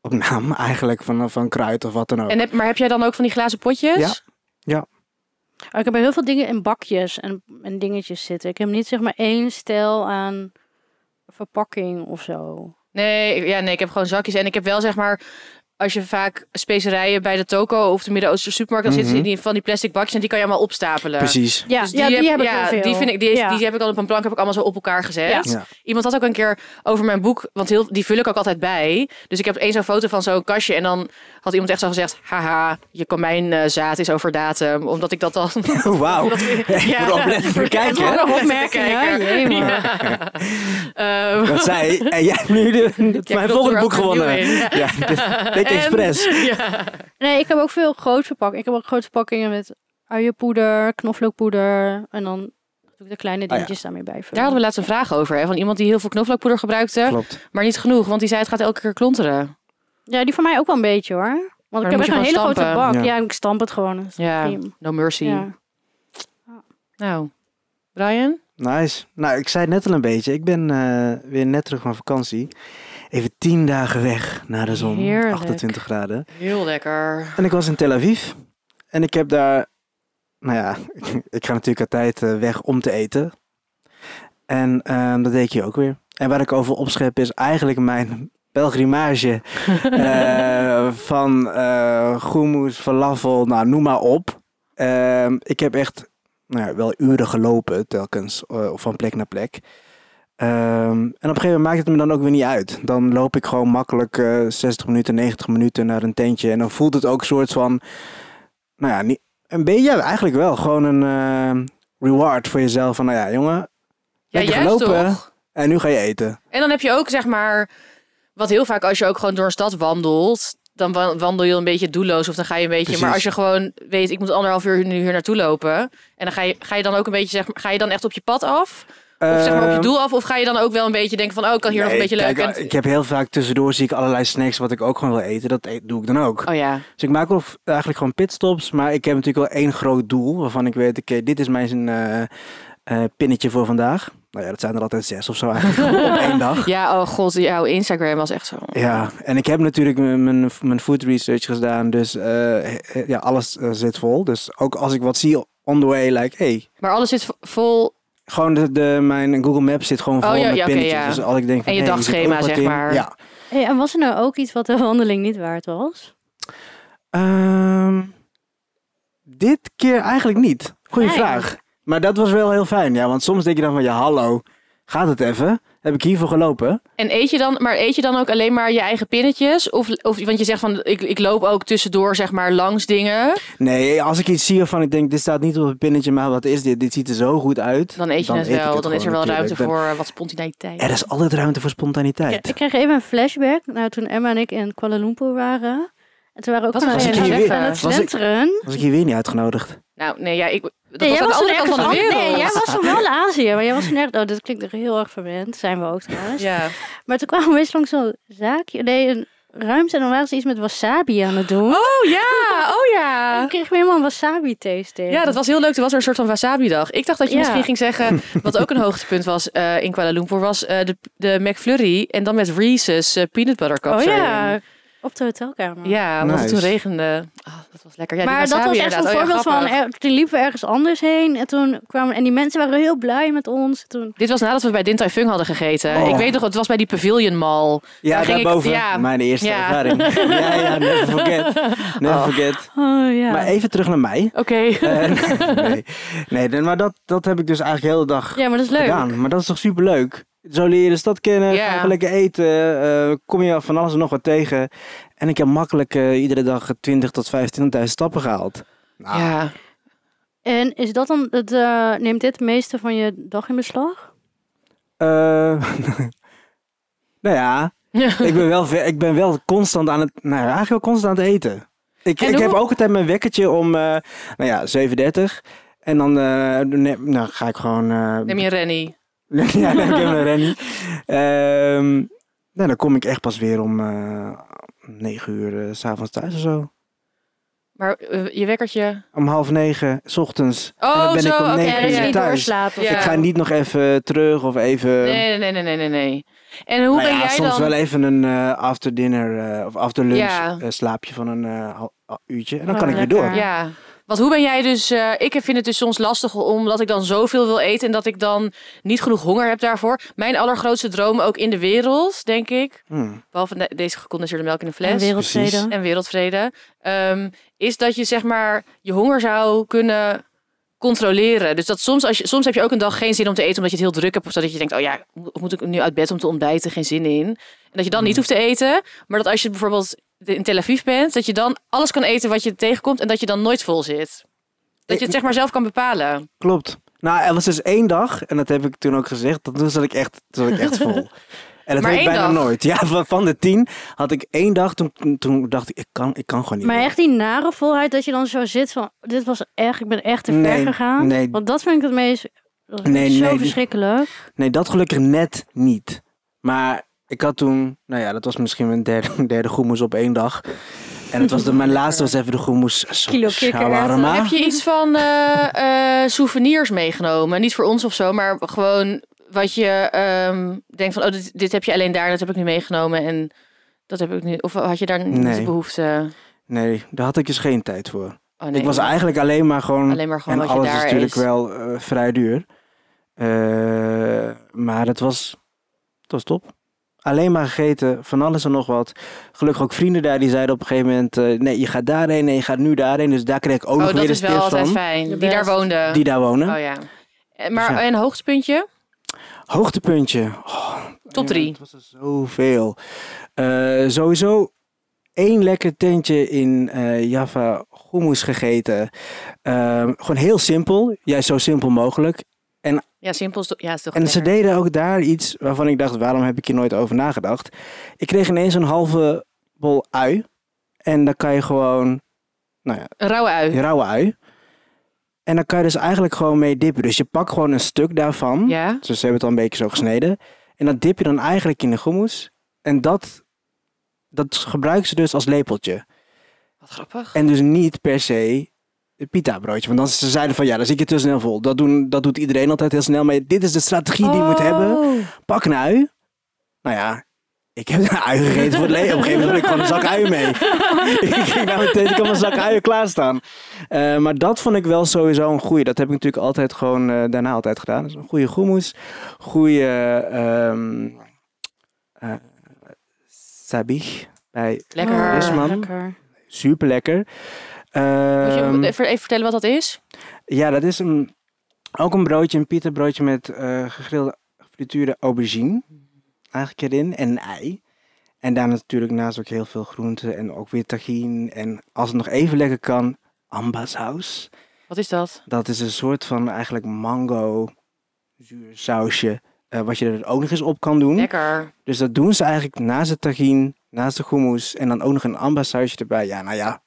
Speaker 1: op naam eigenlijk. Van, van kruid of wat dan ook.
Speaker 3: En heb, maar heb jij dan ook van die glazen potjes?
Speaker 1: Ja.
Speaker 2: Maar Oh, Ik heb heel veel dingen in bakjes en, en dingetjes zitten. Ik heb niet zeg maar één stijl aan verpakking of zo.
Speaker 3: Nee, ik- ja, nee, ik heb gewoon zakjes. En ik heb wel zeg maar als je vaak specerijen bij de toko of de Midden-Oosten supermarkt, dan zitten ze in die, van die plastic bakjes en die kan je allemaal opstapelen.
Speaker 1: Mhm. Precies. [LAUGHS]
Speaker 2: Ja,
Speaker 3: Dus
Speaker 2: ja, die,
Speaker 3: heb-
Speaker 2: heb ik
Speaker 3: ja,
Speaker 2: heel veel.
Speaker 3: Die, vind ik, die, is-
Speaker 2: Ja.
Speaker 3: die heb ik al op een plank, heb ik allemaal zo op elkaar gezet.
Speaker 2: Ja.
Speaker 1: Ja.
Speaker 3: Iemand had ook een keer over mijn boek, want heel, die vul ik ook altijd bij. Dus ik heb eens zo'n foto van zo'n kastje en dan had iemand echt zo gezegd, haha, je komijnzaad zaad is over datum. Omdat ik dat dan... [LAUGHS]
Speaker 1: Oh, Wauw.
Speaker 3: omdat-
Speaker 1: Ja. Voor de oplettende
Speaker 3: Ja,
Speaker 1: kijker.
Speaker 3: voor de
Speaker 2: Opmerkingen,
Speaker 3: kijker.
Speaker 2: jee, man.
Speaker 3: Ja. Ehm,
Speaker 1: Dat zij. En jij hebt nu de-
Speaker 3: [LAUGHS]
Speaker 1: mijn
Speaker 3: jij knopt
Speaker 1: volgende
Speaker 3: er
Speaker 1: boek
Speaker 3: ook opnieuw
Speaker 1: gewonnen.
Speaker 3: in. Ja.
Speaker 1: [LAUGHS] Ja, dit, dit
Speaker 3: En-
Speaker 1: expres.
Speaker 3: [LAUGHS] Ja.
Speaker 2: Nee, ik heb ook veel groot verpakkingen. Ik heb ook grote verpakkingen met uienpoeder, knoflookpoeder. En dan doe ik de kleine
Speaker 1: Ah, ja.
Speaker 2: dingetjes daarmee bij.
Speaker 3: Daar hadden we laatst een vraag over, hè, van iemand die heel veel knoflookpoeder gebruikte,
Speaker 1: Klopt.
Speaker 3: maar niet genoeg, want die zei het gaat elke keer klonteren.
Speaker 2: Ja, die voor mij ook wel een beetje hoor. Want
Speaker 3: dan
Speaker 2: ik
Speaker 3: moet
Speaker 2: heb
Speaker 3: je
Speaker 2: echt een hele
Speaker 3: gewoon
Speaker 2: grote
Speaker 3: stampen.
Speaker 2: bak. Ja.
Speaker 1: Ja.
Speaker 2: ik stamp het gewoon. Dat is
Speaker 3: Ja,
Speaker 2: prima.
Speaker 3: no mercy.
Speaker 2: Ja.
Speaker 3: Nou, Brian?
Speaker 1: Nice. Nou, ik zei het net al een beetje. Ik ben eh, weer net terug van vakantie. Even tien dagen weg naar de zon.
Speaker 2: Heerlijk.
Speaker 1: 28 graden.
Speaker 3: Heel lekker.
Speaker 1: En ik was in Tel Aviv. En ik heb daar... Nou ja, [LAUGHS] ik ga natuurlijk altijd eh, weg om te eten. En ehm, dat deed ik hier ook weer. En waar ik over opschep is eigenlijk mijn
Speaker 3: [LAUGHS]
Speaker 1: pelgrimage eh, van eh hummus, falafel, nou noem maar op. Ehm, ik heb echt nou ja, wel uren gelopen telkens, eh, van plek naar plek. Ehm, en op een gegeven moment maakt het me dan ook weer niet uit. Dan loop ik gewoon makkelijk eh, 60 minuten, 90 minuten naar een tentje. En dan voelt het ook een soort van, nou ja, niet, een beetje ja, eigenlijk wel. Gewoon een ehm, reward voor jezelf. Van nou ja, jongen,
Speaker 3: Ja,
Speaker 1: lekker
Speaker 3: juist
Speaker 1: gelopen.
Speaker 3: toch?
Speaker 1: En nu ga je eten.
Speaker 3: En dan heb je ook, zeg maar, wat heel vaak als je ook gewoon door een stad wandelt, dan wa- wandel je een beetje doelloos of dan ga je een beetje. Maar
Speaker 1: Precies.
Speaker 3: als je gewoon weet, ik moet anderhalf uur nu hier naartoe lopen. En dan ga je, ga je dan ook een beetje, zeg maar, ga je dan echt op je pad af? Of zeg maar op je
Speaker 1: Ehm,
Speaker 3: doel af? Of ga je dan ook wel een beetje denken van, oh, ik kan hier nog een
Speaker 1: Nee,
Speaker 3: beetje leuk.
Speaker 1: kijk,
Speaker 3: en-
Speaker 1: Ik heb heel vaak tussendoor zie ik allerlei snacks wat ik ook gewoon wil eten. Dat eet- doe ik dan ook.
Speaker 3: Oh ja.
Speaker 1: Dus ik maak wel v- eigenlijk gewoon pitstops. Maar ik heb natuurlijk wel één groot doel. Waarvan ik weet, oké, dit is mijn eh, eh, pinnetje voor vandaag. Nou ja, dat zijn er altijd zes of zo
Speaker 3: [LAUGHS]
Speaker 1: eigenlijk op één dag.
Speaker 3: Ja, oh god, jouw Instagram was echt zo.
Speaker 1: Ja, en ik heb natuurlijk m- mijn, mijn food research gedaan. Dus eh, he- ja, alles eh, zit vol. Dus ook als ik wat zie on the way, like, hey,
Speaker 3: Maar alles zit vo- vol.
Speaker 1: gewoon de, de- mijn Google Maps zit gewoon vol
Speaker 3: Oh ja,
Speaker 1: met
Speaker 3: ja, oké,
Speaker 1: pinnetjes.
Speaker 3: ja.
Speaker 1: Dus als ik denk van,
Speaker 3: En je
Speaker 1: hey, hier zit ook
Speaker 3: dagschema,
Speaker 1: wat
Speaker 3: zeg
Speaker 1: in.
Speaker 3: maar.
Speaker 1: Ja,
Speaker 2: Hey, en was er nou ook iets wat de wandeling niet waard was?
Speaker 1: Ehm, dit keer eigenlijk niet. Goeie
Speaker 2: Fijn.
Speaker 1: vraag. Maar dat was wel heel fijn, ja. Want soms denk je dan van, ja, hallo, gaat het even? Heb ik hiervoor gelopen?
Speaker 3: En eet je dan, maar eet je dan ook alleen maar je eigen pinnetjes? Of, of want je zegt van, ik, ik loop ook tussendoor, zeg maar, langs dingen.
Speaker 1: Nee, als ik iets zie waarvan ik denk, dit staat niet op het pinnetje, maar wat is dit? Dit ziet er zo goed uit.
Speaker 3: Dan eet je het
Speaker 1: ik
Speaker 3: wel. dan is er wel
Speaker 1: gewoon
Speaker 3: ruimte
Speaker 1: natuurlijk.
Speaker 3: voor eh, wat spontaniteit.
Speaker 1: Er is altijd ruimte voor
Speaker 2: Ja,
Speaker 1: spontaniteit.
Speaker 2: ik kreeg even een flashback naar toen Emma en ik in Kuala Lumpur waren. En toen waren we ook
Speaker 3: Wat
Speaker 2: gewoon
Speaker 1: was ik
Speaker 2: aan
Speaker 1: hier
Speaker 2: het-
Speaker 1: weer?
Speaker 2: aan het
Speaker 1: Was ik-
Speaker 2: slenteren.
Speaker 1: Was ik hier weer niet uitgenodigd?
Speaker 3: Nou, nee, ja, ik, dat
Speaker 2: Nee,
Speaker 3: was
Speaker 2: jij
Speaker 3: aan de
Speaker 2: was
Speaker 3: andere
Speaker 2: toen
Speaker 3: kant van de
Speaker 2: ergens
Speaker 3: wereld.
Speaker 2: an- Nee, jij was toen wel in Azië, maar jij was toen echt... Oh, dit klinkt heel erg verwend. Zijn we ook trouwens.
Speaker 3: ja.
Speaker 2: Maar toen kwamen we eens langs zo'n zaakje. Nee, een ruimte. En dan waren ze iets met wasabi aan het doen.
Speaker 3: Oh [LAUGHS] ja, oh
Speaker 2: En
Speaker 3: ja.
Speaker 2: ik kreeg helemaal een wasabi-taste tegen.
Speaker 3: Ja, dat was heel leuk. Toen was er een soort van wasabi-dag. Ik dacht dat je
Speaker 2: Ja.
Speaker 3: misschien ging
Speaker 2: [LAUGHS]
Speaker 3: zeggen, wat ook een hoogtepunt was eh, in Kuala Lumpur, was eh, de, de McFlurry en dan met Reese's eh, peanut butter cup.
Speaker 2: Oh
Speaker 3: erin.
Speaker 2: ja, op de hotelkamer.
Speaker 3: Ja, want het
Speaker 1: Nice.
Speaker 3: toen regende. Ah, dat was lekker. Ja, die
Speaker 2: maar dat
Speaker 3: wasabi
Speaker 2: was echt een
Speaker 3: inderdaad. Oh ja,
Speaker 2: voorbeeld van,
Speaker 3: grappig.
Speaker 2: er- toen liepen we ergens anders heen en toen kwamen, en die mensen waren heel blij met ons. Toen,
Speaker 3: Dit was nadat we bij Din Tai Fung hadden gegeten.
Speaker 1: Oh.
Speaker 3: Ik weet nog, het was bij die Pavilion Mall.
Speaker 1: Ja,
Speaker 3: Daar ging ik-
Speaker 1: daarboven.
Speaker 3: ja.
Speaker 1: Mijn eerste
Speaker 3: Ja. [LAUGHS]
Speaker 1: ervaring. ja, ja, never forget. Never
Speaker 3: Oh.
Speaker 1: forget.
Speaker 2: oh ja.
Speaker 1: Maar even terug naar
Speaker 3: [LAUGHS]
Speaker 1: mij.
Speaker 3: Oké.
Speaker 1: [LAUGHS] Eh, nee, nee, nee, maar dat, dat heb ik dus eigenlijk de hele dag
Speaker 2: ja, maar dat is leuk.
Speaker 1: gedaan. Maar dat is toch superleuk? Zo leer je de stad kennen,
Speaker 3: Ja.
Speaker 1: ga je lekker eten, eh, kom je van alles en nog wat tegen. En ik heb makkelijk eh, iedere dag 20 tot 25.000 stappen gehaald. Nou,
Speaker 3: Ja.
Speaker 2: En is dat dan, het, eh, neemt dit het meeste van je dag in beslag?
Speaker 1: eh, [LAUGHS] nou ja, [LAUGHS] ik ben, wel, ve- ik ben wel constant aan het, nou ja, eigenlijk wel constant aan het eten. Ik,
Speaker 3: En
Speaker 1: ik
Speaker 3: hoe-
Speaker 1: heb ook altijd mijn wekkertje om, eh, nou ja, 7.30. En dan eh, neem- nou, ga ik gewoon... eh,
Speaker 3: Neem je een Rennie.
Speaker 1: ja, [LAUGHS] dan heb ik
Speaker 3: [LAUGHS]
Speaker 1: helemaal Rennie. Ehm, nou, dan kom ik echt pas weer om eh 9 uur eh, s s'avonds thuis of zo.
Speaker 3: Maar eh, je wekkertje...
Speaker 1: Om half negen, s ochtends.
Speaker 3: Oh,
Speaker 1: en dan ben
Speaker 3: zo,
Speaker 1: ik om
Speaker 3: oké,
Speaker 1: negen
Speaker 3: Ja,
Speaker 2: dat
Speaker 3: ja,
Speaker 2: je
Speaker 1: uur
Speaker 3: ja.
Speaker 2: niet
Speaker 1: thuis.
Speaker 2: doorslaapt. of
Speaker 3: Ja.
Speaker 2: zo.
Speaker 1: Ik ga niet nog even terug of even...
Speaker 3: Nee, nee, nee, nee, nee, nee. En hoe
Speaker 1: Ehm. Nou
Speaker 3: ben
Speaker 1: ja,
Speaker 3: jij
Speaker 1: soms
Speaker 3: dan...
Speaker 1: wel even een eh after dinner eh, of after lunch
Speaker 3: Ja.
Speaker 1: eh, slaapje van een eh, hal- hal- uurtje. En dan kan
Speaker 2: Oh,
Speaker 1: ik weer
Speaker 2: lekker.
Speaker 1: door.
Speaker 3: Ja. Want hoe ben jij dus... eh, ik vind het dus soms lastig omdat ik dan zoveel wil eten... en dat ik dan niet genoeg honger heb daarvoor. Mijn allergrootste droom ook in de wereld, denk ik...
Speaker 1: Hmm.
Speaker 3: behalve de- deze gecondenseerde melk in een fles...
Speaker 2: En wereldvrede.
Speaker 1: Precies.
Speaker 3: en wereldvrede. ehm, is dat je zeg maar je honger zou kunnen controleren. Dus dat soms, als je, soms heb je ook een dag geen zin om te eten omdat je het heel druk hebt. Of zodat je denkt, oh ja, mo- moet ik nu uit bed om te ontbijten? Geen zin in. En dat je dan niet
Speaker 1: Mhm.
Speaker 3: hoeft te eten. Maar dat als je bijvoorbeeld in Tel Aviv bent, dat je dan alles kan eten wat je tegenkomt. En dat je dan nooit vol zit. Dat je het zeg maar zelf kan bepalen.
Speaker 1: Klopt. Nou, er was dus één dag, en dat heb ik toen ook gezegd, dat toen zat ik echt, toen zat ik echt
Speaker 3: [LAUGHS]
Speaker 1: vol. En dat
Speaker 3: Maar
Speaker 1: heb ik
Speaker 3: één
Speaker 1: bijna
Speaker 3: dag?
Speaker 1: nooit. Ja, van, van de tien had ik één dag, toen, toen dacht ik, ik kan, ik kan gewoon niet
Speaker 2: Maar
Speaker 1: meer.
Speaker 2: echt die nare volheid dat je dan zo zit van... Dit was echt... Ik ben echt te ver
Speaker 1: Nee,
Speaker 2: gegaan.
Speaker 1: nee.
Speaker 2: Want dat vind ik het meest... Dat is
Speaker 1: Nee,
Speaker 2: zo
Speaker 1: nee.
Speaker 2: verschrikkelijk.
Speaker 1: Nee, dat gelukkig net niet. Maar ik had toen, nou ja, dat was misschien mijn derde, [LAUGHS] derde groenmoes op één dag. En het was de,
Speaker 3: [LAUGHS]
Speaker 1: mijn laatste was even de groenmoes s-
Speaker 2: Kilo kikker.
Speaker 1: shawarma.
Speaker 3: Heb je iets van eh, eh, souvenirs meegenomen? Niet voor ons of zo, maar gewoon wat je ehm, denkt van... oh, dit, dit heb je alleen daar, dat heb ik nu meegenomen en dat heb ik nu... Of had je daar niet
Speaker 1: Nee.
Speaker 3: de behoefte?
Speaker 1: Nee, daar had ik dus geen tijd voor.
Speaker 3: Oh, nee.
Speaker 1: Ik was eigenlijk alleen maar gewoon...
Speaker 3: alleen maar gewoon
Speaker 1: en
Speaker 3: wat je
Speaker 1: alles
Speaker 3: daar
Speaker 1: is natuurlijk
Speaker 3: eet.
Speaker 1: wel eh, vrij duur. Eh, maar het was, het was top. Alleen maar gegeten, van alles en nog wat. Gelukkig ook vrienden daar die zeiden op een gegeven moment... eh, nee, je gaat daarheen, nee, je gaat nu daarheen. Dus daar kreeg ik ook nog
Speaker 3: Oh, dat
Speaker 1: weer eens
Speaker 3: is wel
Speaker 1: tips
Speaker 3: altijd
Speaker 1: van.
Speaker 3: fijn.
Speaker 2: De
Speaker 3: Die daar
Speaker 2: best.
Speaker 3: woonde.
Speaker 1: Die daar wonen.
Speaker 3: Oh ja. Eh, Maar
Speaker 1: Dus ja.
Speaker 3: een hoogtepuntje?
Speaker 1: Hoogtepuntje. Oh,
Speaker 3: Top
Speaker 1: ja,
Speaker 3: drie.
Speaker 1: Het was er zoveel. Eh, sowieso één lekker tentje in eh, Java hummus gegeten. Ehm, gewoon heel simpel. Juist zo simpel mogelijk.
Speaker 3: Ja, simpel. is to- Ja, is toch
Speaker 1: En ze
Speaker 3: lekker.
Speaker 1: deden ook daar iets waarvan ik dacht, waarom heb ik hier nooit over nagedacht? Ik kreeg ineens een halve bol ui. En dan kan je gewoon, nou ja,
Speaker 3: Een rauwe ui.
Speaker 1: die rauwe ui. En dan kan je dus eigenlijk gewoon mee dippen. Dus je pakt gewoon een stuk daarvan.
Speaker 3: Ja.
Speaker 1: Dus ze hebben het al een beetje zo gesneden. En dat dip je dan eigenlijk in de hummus. En dat, dat gebruiken ze dus als lepeltje.
Speaker 3: Wat grappig.
Speaker 1: En dus niet per se het pita broodje. Want dan ze zeiden van ja, dan zit je te snel vol. Dat, doen, dat doet iedereen altijd heel snel. Maar dit is de strategie die je
Speaker 2: Oh.
Speaker 1: moet hebben. Pak een ui. Nou ja, ik heb een ui gegeten voor het leven. Op een gegeven moment had ik gewoon een zak uien mee. [LAUGHS] ik ging nou meteen, ik had mijn zak uien klaarstaan. Eh, maar dat vond ik wel sowieso een goeie. Dat heb ik natuurlijk altijd gewoon eh, daarna altijd gedaan. Dus een goede hummus. Goede ehm eh, sabich bij
Speaker 3: Lekker.
Speaker 1: Is maar- man.
Speaker 2: Oh, Lekker.
Speaker 1: super lekker.
Speaker 3: Moet
Speaker 1: Ehm,
Speaker 3: je even even vertellen wat dat is?
Speaker 1: ja, dat is een, ook een broodje, een pita broodje met eh, gegrilde frituurde aubergine eigenlijk erin en een ei. En daar natuurlijk naast ook heel veel groenten en ook weer tagine. En als het nog even lekker kan, ambasaus.
Speaker 3: Wat is dat?
Speaker 1: Dat is een soort van eigenlijk mango zuursausje. eh, wat je er ook nog eens op kan doen.
Speaker 3: Lekker.
Speaker 1: Dus dat doen ze eigenlijk naast de tagine, naast de hummus. En dan ook nog een ambasausje erbij. Ja, nou ja.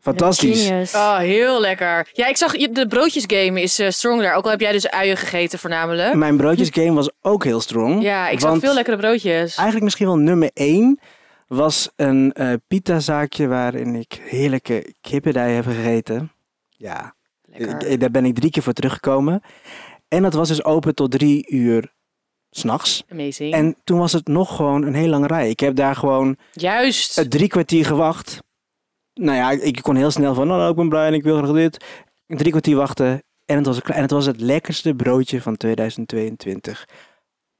Speaker 1: Fantastisch.
Speaker 2: Genius.
Speaker 3: Oh, heel lekker. Ja, ik zag je- de broodjesgame is eh, strong daar. Ook al heb jij dus uien gegeten
Speaker 2: Mm,
Speaker 3: voornamelijk.
Speaker 1: Mijn broodjesgame was ook heel strong.
Speaker 3: Hm. Ja, ik zag
Speaker 1: want
Speaker 3: veel lekkere broodjes.
Speaker 1: Eigenlijk misschien wel nummer één was een eh pita-zaakje waarin ik heerlijke kippendij heb gegeten. Ja,
Speaker 2: eh,
Speaker 3: Lekker.
Speaker 1: ik- daar ben ik drie keer voor teruggekomen. En dat was dus open tot drie uur s'nachts.
Speaker 3: Amazing.
Speaker 1: En toen was het nog gewoon een heel lange rij. Ik heb daar gewoon
Speaker 3: Juist.
Speaker 1: eh, drie kwartier gewacht. Nou ja, ik- ik kon heel snel van, hallo, ik ben Brian, ik wil graag dit. Drie kwartier wachten. En het was, klaar. en het, was het lekkerste broodje van 2022.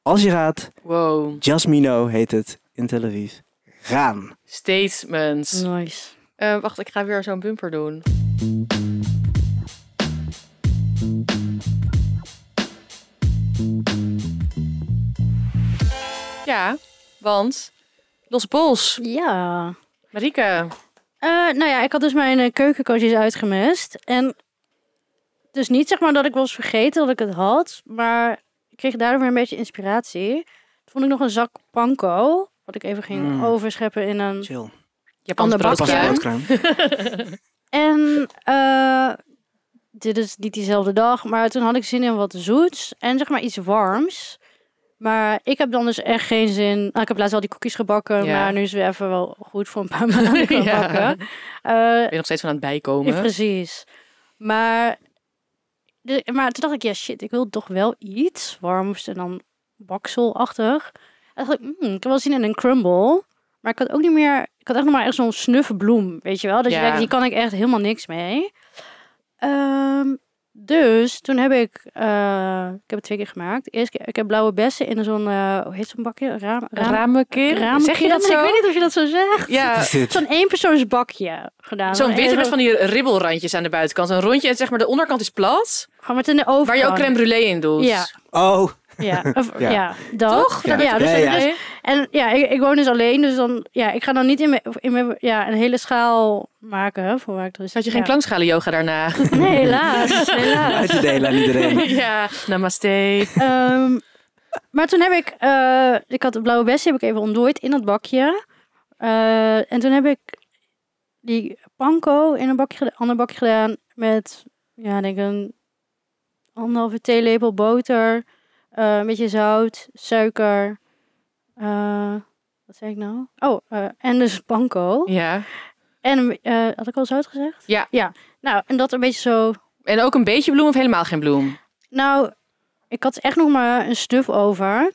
Speaker 1: Als je gaat,
Speaker 3: Wow.
Speaker 1: Jasmino heet het in Tel Aviv. Gaan.
Speaker 3: Statements.
Speaker 2: Nice.
Speaker 3: Eh, wacht, ik ga weer zo'n bumper doen. Ja, want Los Bols,
Speaker 2: Ja.
Speaker 3: Marieke.
Speaker 2: Eh, nou ja, ik had dus mijn eh, keukencoaches uitgemest. En dus niet zeg maar dat ik was vergeten dat ik het had. Maar ik kreeg daardoor weer een beetje inspiratie. Toen vond ik nog een zak panko. Wat ik even ging
Speaker 1: Mm.
Speaker 2: overscheppen in een...
Speaker 1: Chill.
Speaker 3: Japans
Speaker 2: Ander
Speaker 1: Pas
Speaker 2: bakje.
Speaker 3: broodje.
Speaker 1: op
Speaker 2: Bakje. [LAUGHS]
Speaker 1: broodkruim.
Speaker 2: En eh, dit is niet diezelfde dag. Maar toen had ik zin in wat zoets. En zeg maar iets warms. Maar ik heb dan dus echt geen zin. nou, ik heb laatst al die koekjes gebakken.
Speaker 3: Ja.
Speaker 2: Maar nu is het weer even wel goed voor een paar [LAUGHS] maanden gaan
Speaker 3: Ja.
Speaker 2: bakken. Eh,
Speaker 3: Ik ben nog steeds van aan het
Speaker 2: Ja,
Speaker 3: bijkomen.
Speaker 2: precies. Maar, de- maar toen dacht ik, ja shit, ik wil toch wel iets warms en dan bakselachtig. En toen dacht ik, mm, ik heb wel zin in een crumble. Maar ik had ook niet meer, ik had echt nog maar echt zo'n snuffe bloem, weet je wel. Dus Dat
Speaker 3: Ja.
Speaker 2: je denkt, die kan ik echt helemaal niks mee. Ehm, Dus toen heb ik, eh, ik heb het twee keer gemaakt. Eerst keer- ik heb blauwe bessen in zo'n, eh, hoe heet zo'n bakje? Raam, raam,
Speaker 3: Ramekin? Zeg je
Speaker 2: raamkern?
Speaker 3: dat
Speaker 2: Ik
Speaker 3: zo?
Speaker 2: weet niet of je dat zo zegt.
Speaker 1: Wat
Speaker 3: Ja, dus
Speaker 1: is dit?
Speaker 2: Zo'n eenpersoonsbakje gedaan.
Speaker 3: zo'n witte
Speaker 2: Even-
Speaker 3: met van die ribbelrandjes aan de buitenkant. Een rondje en zeg maar de onderkant is plat.
Speaker 2: Gewoon met in de oven.
Speaker 3: Waar je ook crème brulee in doet. Dus
Speaker 2: Ja.
Speaker 1: Oh,
Speaker 2: Ja,
Speaker 3: [LAUGHS]
Speaker 2: of-
Speaker 1: Ja.
Speaker 2: ja. dat.
Speaker 3: Toch?
Speaker 2: Ja,
Speaker 1: Ja.
Speaker 2: dus,
Speaker 1: Ja, ja.
Speaker 2: dus- en ja, ik, ik woon dus alleen, dus dan, ja, ik ga dan niet in, mijn- in mijn- ja, een hele schaal maken voor waar ik dus.
Speaker 3: Had je
Speaker 2: ja.
Speaker 3: geen
Speaker 2: [LAUGHS]
Speaker 3: klankschalen yoga daarna?
Speaker 2: Nee, helaas, helaas.
Speaker 1: uit te delen aan iedereen.
Speaker 3: ja, namaste.
Speaker 2: Ehm, maar toen heb ik, eh, ik had de blauwe bessen heb ik even ontdooid in dat bakje. Eh, en toen heb ik die panko in een bakje, geda- ander bakje gedaan met, ja, denk een anderhalve theelepel boter, eh, een beetje zout, suiker. eh, wat zei ik nou? Oh, eh, en dus panko.
Speaker 3: Ja.
Speaker 2: En eh, had ik al zout gezegd?
Speaker 3: Ja.
Speaker 2: Ja. Nou, en dat een beetje zo
Speaker 3: En ook een beetje bloem of helemaal geen bloem?
Speaker 2: nou, ik had echt nog maar een stuf over.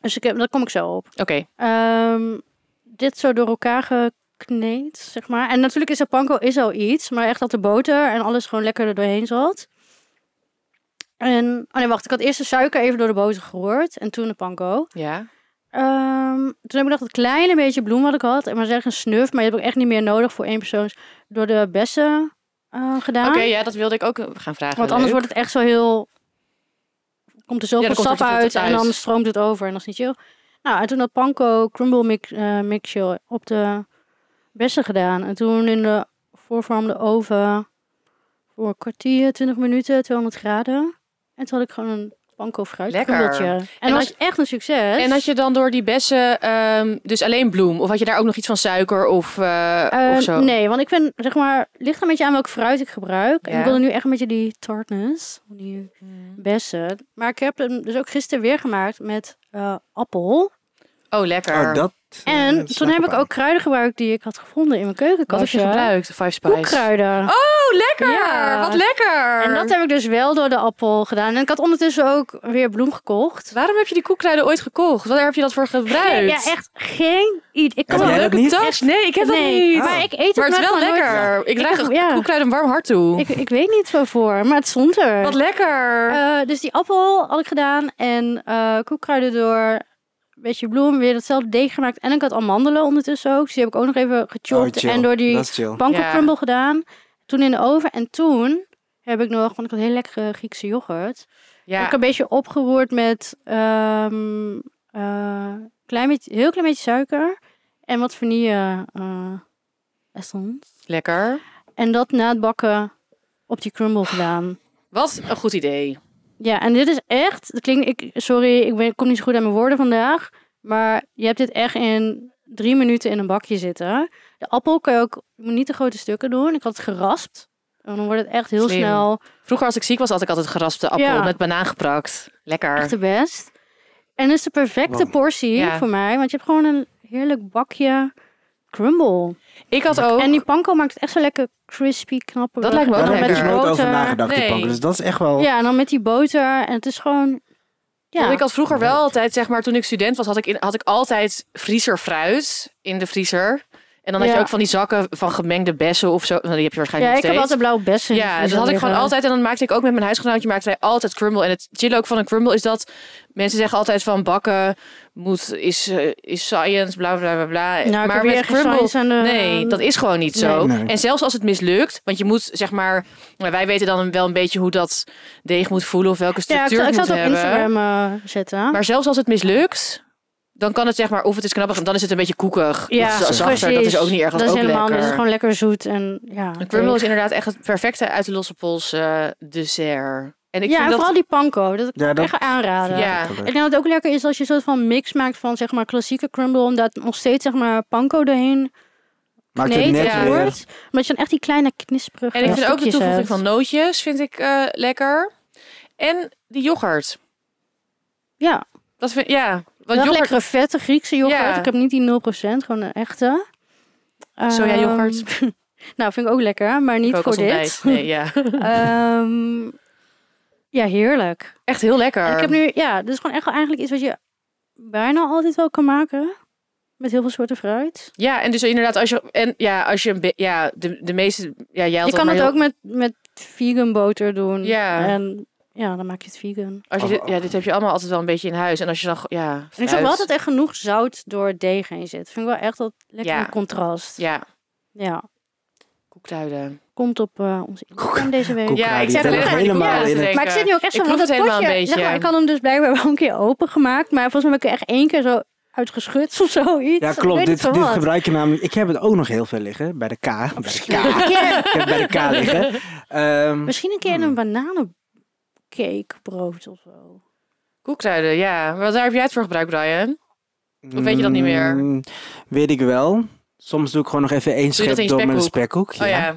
Speaker 2: Dus ik heb, daar kom ik zo op.
Speaker 3: Oké.
Speaker 2: Ehm, dit zo door elkaar gekneed, zeg maar. En natuurlijk is de panko is al iets. Maar echt dat de boter en alles gewoon lekker er doorheen zat. En, oh nee, wacht. Ik had eerst de suiker even door de boter geroerd. En toen de panko.
Speaker 3: Ja.
Speaker 2: Ehm, toen heb ik nog dat kleine beetje bloem wat ik had. En maar zeg een snuf. Maar die heb ik echt niet meer nodig voor één persoons. Door de bessen eh, gedaan.
Speaker 3: Oké, ja, dat wilde ik ook gaan vragen.
Speaker 2: Want anders
Speaker 3: Leuk.
Speaker 2: wordt het echt zo heel... Komt er
Speaker 3: Ja,
Speaker 2: zoveel
Speaker 3: dan komt er
Speaker 2: sap
Speaker 3: veel
Speaker 2: uit
Speaker 3: tot
Speaker 2: en dan
Speaker 3: uit.
Speaker 2: stroomt het over en dat is niet chill. Nou, en toen had panko crumble mix, eh, mixje op de bessen gedaan. En toen in de voorverwarmde oven voor een kwartier, 20 minuten, 200 graden. En toen had ik gewoon een panko fruitcrumbeltje.
Speaker 3: Lekker.
Speaker 2: En,
Speaker 3: En
Speaker 2: dat
Speaker 3: had
Speaker 2: was echt een succes.
Speaker 3: En had je dan door die bessen ehm, dus alleen bloem? Of had je daar ook nog iets van suiker of, eh,
Speaker 2: Eh,
Speaker 3: of zo?
Speaker 2: Nee, want ik vind, zeg maar, ligt er een beetje aan welk fruit ik gebruik. En
Speaker 3: Ja.
Speaker 2: ik wilde nu echt een beetje die tartness, die bessen. Maar ik heb hem dus ook gisteren weer gemaakt met eh, appel.
Speaker 3: Oh, lekker.
Speaker 1: Oh, dat. eh,
Speaker 2: En
Speaker 1: dat
Speaker 2: toen
Speaker 1: snap
Speaker 2: heb ik
Speaker 1: wel.
Speaker 2: ook kruiden gebruikt die ik had gevonden in mijn
Speaker 3: Wat heb je
Speaker 2: keukenkastje.
Speaker 3: gebruikt? Five Spice.
Speaker 2: Koekkruiden.
Speaker 3: Oh, lekker!
Speaker 2: Ja.
Speaker 3: Wat lekker!
Speaker 2: En dat heb ik dus wel door de appel gedaan. En ik had ondertussen ook weer bloem gekocht.
Speaker 3: Waarom heb je die koekkruiden ooit gekocht? Waar heb je dat voor gebruikt?
Speaker 2: Ja, echt geen idee. Ik
Speaker 1: Heb
Speaker 2: kan
Speaker 1: jij
Speaker 2: wel-
Speaker 1: dat niet?
Speaker 3: tas? Nee, ik heb
Speaker 2: nee,
Speaker 3: dat niet.
Speaker 2: Maar ik eet het,
Speaker 3: Maar het is wel
Speaker 2: maar gewoon
Speaker 3: lekker. Ik
Speaker 2: Ik
Speaker 3: draag
Speaker 2: heb-
Speaker 3: een
Speaker 2: ja.
Speaker 3: koekkruid een warm hart toe.
Speaker 2: nooit- Ik, ik weet niet waarvoor, maar het stond er.
Speaker 3: Wat lekker.
Speaker 2: Eh, dus die appel had ik gedaan en eh koekkruiden door een beetje bloem, weer hetzelfde deeg gemaakt. En ik had amandelen ondertussen ook, dus die heb ik ook nog even
Speaker 1: Oh,
Speaker 2: gechopt
Speaker 1: chill.
Speaker 2: en door die
Speaker 1: Dat is chill.
Speaker 3: Ja.
Speaker 2: pankelcrumble gedaan. Toen in de oven en toen heb ik nog, want ik had heel lekkere Griekse yoghurt.
Speaker 3: ja.
Speaker 2: Heb ik een beetje opgeroerd met ehm eh, klein beetje, heel klein beetje suiker en wat vanille eh essence.
Speaker 3: Lekker.
Speaker 2: En dat na het bakken op die crumble gedaan.
Speaker 3: Wat een goed idee.
Speaker 2: Ja, en dit is echt. Het klinkt, ik, sorry, ik ben, kom niet zo goed aan mijn woorden vandaag. Maar je hebt dit echt in drie minuten in een bakje zitten. De appel kan je ook je moet niet de grote stukken doen. Ik had het geraspt. En dan wordt het echt heel
Speaker 3: Slim.
Speaker 2: snel
Speaker 3: Vroeger als ik ziek was, had ik altijd geraspte appel
Speaker 2: Ja.
Speaker 3: met banaan geprakt. Lekker.
Speaker 2: echt de best. En het is de perfecte
Speaker 1: Wow.
Speaker 2: portie
Speaker 3: Ja.
Speaker 2: voor mij. Want je hebt gewoon een heerlijk bakje crumble.
Speaker 3: Ik had ook...
Speaker 2: En die panko maakt het echt zo lekker crispy, knappe.
Speaker 3: Dat lijkt me ook
Speaker 1: Daar
Speaker 3: wel
Speaker 1: heb ik
Speaker 3: lekker.
Speaker 1: dus nooit over nagedacht,
Speaker 3: Nee.
Speaker 1: die panko. Dus dat is echt wel...
Speaker 2: Ja, en dan met die boter. En het is gewoon... Ja,
Speaker 3: Want ik had vroeger wel altijd, zeg maar, toen ik student was, had ik, in, had ik altijd vriezer fruit in de vriezer. En dan had je
Speaker 2: Ja.
Speaker 3: ook van die zakken van gemengde bessen of zo. Nou, die heb je
Speaker 2: ja
Speaker 3: waarschijnlijk
Speaker 2: ik
Speaker 3: nog
Speaker 2: heb
Speaker 3: steeds.
Speaker 2: altijd blauwe bessen. in de
Speaker 3: ja, dat
Speaker 2: vriezer
Speaker 3: had ik gewoon
Speaker 2: liggen.
Speaker 3: altijd. En dan maakte ik ook met mijn huisgenootje, maakten wij altijd crumble. En het chill ook van een crumble is dat mensen zeggen altijd van bakken moet, is, eh, is science, bla bla bla bla.
Speaker 2: Nou, ik
Speaker 3: Eh, maar
Speaker 2: heb
Speaker 3: met
Speaker 2: hier geen
Speaker 3: crumble,
Speaker 2: science eh, aan de-
Speaker 3: nee, dat is gewoon niet zo.
Speaker 1: Nee. Nee.
Speaker 3: En zelfs als het mislukt, want je moet zeg maar, nou, wij weten dan wel een beetje hoe dat deeg moet voelen of welke
Speaker 2: Ja, ik,
Speaker 3: structuur
Speaker 2: zal- ik
Speaker 3: het
Speaker 2: zal
Speaker 3: moet
Speaker 2: het op
Speaker 3: hebben.
Speaker 2: Instagram eh, zetten.
Speaker 3: Maar zelfs als het mislukt, dan kan het zeg maar, of het is knappig, en dan is het een beetje koekig.
Speaker 2: ja,
Speaker 3: Of z- zachter, dat
Speaker 2: precies.
Speaker 3: is ook niet erg. Dat,
Speaker 2: is
Speaker 3: is ook
Speaker 2: helemaal
Speaker 3: lekker.
Speaker 2: niet. Het is gewoon lekker zoet en ja.
Speaker 3: Een crumble is
Speaker 2: lekker.
Speaker 3: inderdaad echt het perfecte uit de losse pols eh, dessert. En ik
Speaker 2: ja, en
Speaker 3: vind
Speaker 2: vooral
Speaker 3: dat...
Speaker 2: die panko. Dat ik
Speaker 1: Ja, dat-
Speaker 2: echt aanraden.
Speaker 3: Ja.
Speaker 2: Ik denk dat het ook lekker is als je een soort van mix maakt van zeg maar klassieke crumble. Omdat nog steeds zeg maar panko erheen
Speaker 1: Maakt het
Speaker 2: kneedt
Speaker 1: net
Speaker 3: ja.
Speaker 2: en
Speaker 1: weer...
Speaker 2: wordt. Omdat je dan echt die kleine knisperige
Speaker 3: En ik vind ook de
Speaker 2: stukjes
Speaker 3: toevoeging
Speaker 2: hebt.
Speaker 3: van nootjes vind ik eh, lekker. En die yoghurt.
Speaker 2: Ja,
Speaker 3: Dat vind ja,
Speaker 2: wel
Speaker 3: want yoghurt,
Speaker 2: lekkere vette Griekse yoghurt.
Speaker 3: Ja.
Speaker 2: Ik heb niet die 0%, gewoon een echte.
Speaker 3: soja yoghurt.
Speaker 2: Ehm, [LAUGHS] nou, vind ik ook lekker, maar niet
Speaker 3: kook
Speaker 2: voor
Speaker 3: als
Speaker 2: dit.
Speaker 3: ontbijt. Nee,
Speaker 2: [LAUGHS]
Speaker 3: ja.
Speaker 2: Ehm, ja, heerlijk.
Speaker 3: Echt heel lekker.
Speaker 2: En ik heb nu, ja, dit is gewoon echt wel eigenlijk iets wat je bijna altijd wel kan maken. Met heel veel soorten fruit.
Speaker 3: Ja, en dus inderdaad, als je, en, ja, als je een be- ja, de, de meeste, ja, jij had
Speaker 2: Je kan
Speaker 3: dat maar
Speaker 2: het
Speaker 3: heel-
Speaker 2: ook met, met vegan boter doen.
Speaker 3: Ja.
Speaker 2: En ja, dan maak je het vegan.
Speaker 3: Als je
Speaker 1: Of-
Speaker 3: dit, ja, dit heb je allemaal altijd wel een beetje in huis. En als je dan... go- Ja,
Speaker 2: En ik vind
Speaker 3: fruit.
Speaker 2: wel dat er echt genoeg zout door het deeg heen zit. Vind ik wel echt dat lekker
Speaker 3: Ja.
Speaker 2: in contrast.
Speaker 3: Ja,
Speaker 2: Ja.
Speaker 3: koekduiden.
Speaker 2: komt op eh, onze Instagram deze week.
Speaker 1: Koek-
Speaker 3: Ja,
Speaker 1: Ja,
Speaker 3: ik
Speaker 1: ik
Speaker 3: zit
Speaker 1: zit
Speaker 3: er
Speaker 1: er
Speaker 3: echt
Speaker 1: helemaal
Speaker 3: aan te
Speaker 1: in.
Speaker 3: denken.
Speaker 2: Maar ik zit nu ook echt
Speaker 3: Ik
Speaker 2: zo van
Speaker 3: proef
Speaker 2: dat
Speaker 3: het helemaal
Speaker 2: potje.
Speaker 3: een
Speaker 2: Zeg maar,
Speaker 3: beetje.
Speaker 2: ik had hem dus blijkbaar wel een keer open gemaakt, maar volgens mij heb ik er echt één keer zo uitgeschud of zoiets.
Speaker 1: [LAUGHS] Ja,
Speaker 2: Ik
Speaker 1: klopt.
Speaker 2: weet
Speaker 1: Dit, dit
Speaker 2: niet van wat.
Speaker 1: gebruik je namelijk. Ik heb het ook nog heel veel liggen bij de K. Bij de K. ik heb het bij de K
Speaker 2: [LAUGHS]
Speaker 1: liggen. Ehm,
Speaker 2: Misschien een keer in een bananencakebrood of zo.
Speaker 3: Koekduiden, ja. Maar daar heb jij het voor gebruikt, Brian. Of weet je dat niet meer?
Speaker 1: mm, Weet ik wel. Soms doe ik gewoon nog even één
Speaker 3: je dat in
Speaker 1: schep
Speaker 3: je
Speaker 1: door met een spekkoek.
Speaker 3: Oh
Speaker 1: ja.
Speaker 3: ja.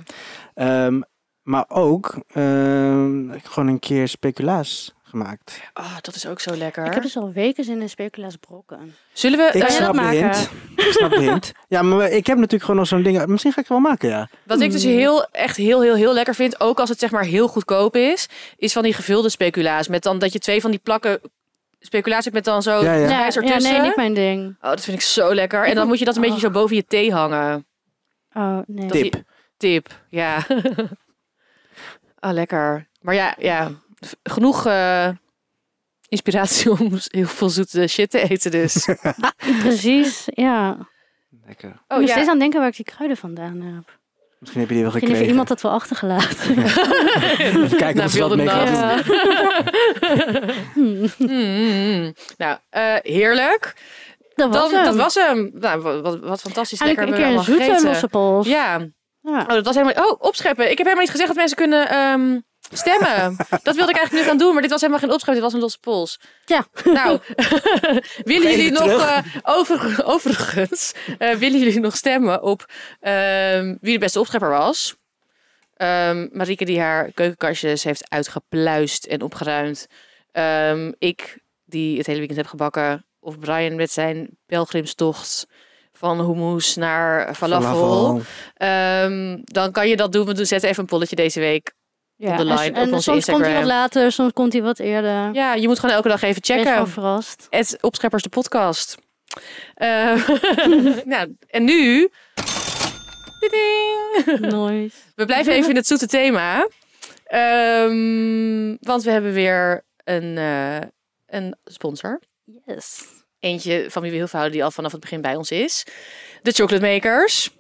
Speaker 1: Ehm, maar ook ehm, gewoon een keer speculaas gemaakt.
Speaker 3: Oh, dat is ook zo lekker.
Speaker 2: Ik heb dus al weken zin in speculaas brokken.
Speaker 3: Zullen we...
Speaker 1: Ik
Speaker 3: eh,
Speaker 2: zou-
Speaker 1: snap de
Speaker 2: dat maken?
Speaker 1: hint. Ik snap de
Speaker 3: [LAUGHS]
Speaker 1: hint. Ja, maar ik heb natuurlijk gewoon nog zo'n ding. Misschien ga ik het wel maken, ja.
Speaker 3: Wat ik dus
Speaker 1: Hmm.
Speaker 3: heel, echt heel, heel, heel lekker vind, ook als het zeg maar heel goedkoop is, is van die gevulde speculaas. Met dan dat je twee van die plakken speculaas hebt met dan zo
Speaker 1: Ja, ja.
Speaker 3: ja.
Speaker 2: ja,
Speaker 3: ertussen.
Speaker 2: nee, niet mijn ding.
Speaker 3: Oh, dat vind ik zo lekker. En dan moet je dat een beetje zo boven je thee hangen.
Speaker 2: Oh, nee.
Speaker 3: Dat
Speaker 1: Tip.
Speaker 3: die- tip, ja. [LAUGHS] Ah, lekker. Maar ja, ja. v- genoeg eh, inspiratie om heel veel zoete shit te eten dus.
Speaker 1: [LAUGHS]
Speaker 2: Precies, ja.
Speaker 3: Oh,
Speaker 1: Lekker.
Speaker 2: ik ben steeds aan het denken waar ik die kruiden vandaan heb.
Speaker 1: Misschien heb je die wel
Speaker 2: Misschien
Speaker 1: gekregen.
Speaker 2: heeft iemand dat wel achtergelaten.
Speaker 1: Even kijken
Speaker 3: Nou,
Speaker 1: of ze wat
Speaker 3: wilde
Speaker 1: mee
Speaker 3: nacht.
Speaker 1: gaat doen.
Speaker 2: Ja.
Speaker 3: [LAUGHS]
Speaker 2: Hmm,
Speaker 3: Mm. Nou, eh, heerlijk.
Speaker 2: dat was
Speaker 3: Dat,
Speaker 2: hem.
Speaker 3: dat was hem. Nou, wa- wat, wat fantastisch lekker.
Speaker 2: Eigenlijk een
Speaker 3: hebben
Speaker 2: keer
Speaker 3: we
Speaker 2: een zoete
Speaker 3: allemaal gegeten.
Speaker 2: losse pols.
Speaker 3: Ja.
Speaker 2: Ja.
Speaker 3: Oh, dat was helemaal... Oh, opscheppen. Ik heb helemaal niet gezegd dat mensen kunnen ehm, stemmen. dat wilde ik eigenlijk nu gaan doen, maar dit was helemaal geen opscheppen. Dit was een losse pols.
Speaker 2: Ja.
Speaker 3: Nou, [LAUGHS] willen jullie
Speaker 1: het
Speaker 3: nog...
Speaker 1: terug.
Speaker 3: eh, over, [LAUGHS] overigens, eh, willen jullie nog stemmen op ehm, wie de beste opschepper was? Ehm Marieke die haar keukenkastjes heeft uitgepluist en opgeruimd. Ehm, ik die het hele weekend heb gebakken. Of Brian met zijn pelgrimstocht van hummus naar falafel.
Speaker 1: Falafel.
Speaker 3: Ehm, dan kan je dat doen. We doen- zetten even een polletje deze week.
Speaker 2: Ja,
Speaker 3: de
Speaker 2: en-
Speaker 3: line
Speaker 2: en,
Speaker 3: op onze
Speaker 2: soms komt hij
Speaker 3: Instagram.
Speaker 2: wat later, soms komt hij wat eerder.
Speaker 3: Ja, je moet gewoon elke dag even
Speaker 2: Check
Speaker 3: checken. [LAUGHS]
Speaker 2: verrast.
Speaker 3: Het Opscheppers de podcast. Eh, [LAUGHS] nou, en nu... Diding!
Speaker 2: Nooit.
Speaker 3: We blijven even in het zoete thema. Ehm, want we hebben weer een, eh, een sponsor.
Speaker 2: Yes.
Speaker 3: Eentje van wie we heel veel houden die al vanaf het begin bij ons is. De Chocolate Makers.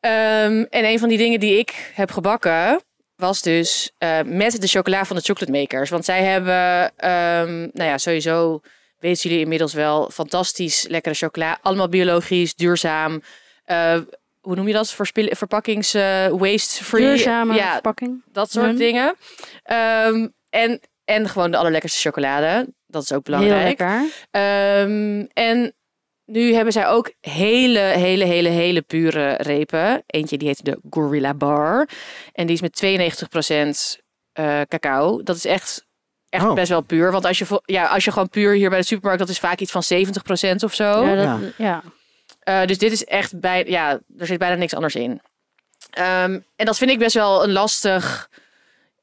Speaker 3: Ehm, en een van die dingen die ik heb gebakken was dus eh, met de chocola van de Chocolate Makers. Want zij hebben, ehm, nou ja, sowieso weten jullie inmiddels wel, fantastisch lekkere chocola. Allemaal biologisch, duurzaam. Eh, hoe noem je dat? Verspil- verpakkings eh, waste free.
Speaker 2: Duurzame
Speaker 3: ja,
Speaker 2: verpakking. Mhm.
Speaker 3: dat soort
Speaker 2: Nun.
Speaker 3: dingen. Ehm, en, en gewoon de allerlekkerste chocolade. Dat is ook belangrijk.
Speaker 2: Heel lekker.
Speaker 3: Ehm, en nu hebben zij ook hele, hele, hele, hele pure repen. Eentje die heet de Gorilla Bar. En die is met 92% eh, cacao. Dat is echt, echt
Speaker 1: Oh.
Speaker 3: best wel puur. Want als je, vo- ja, als je gewoon puur hier bij de supermarkt... dat is vaak iets van 70% of zo.
Speaker 2: ja, dat,
Speaker 1: ja.
Speaker 2: ja.
Speaker 3: Eh, dus dit is echt bij, ja, er zit bijna niks anders in. Ehm, en dat vind ik best wel een lastig,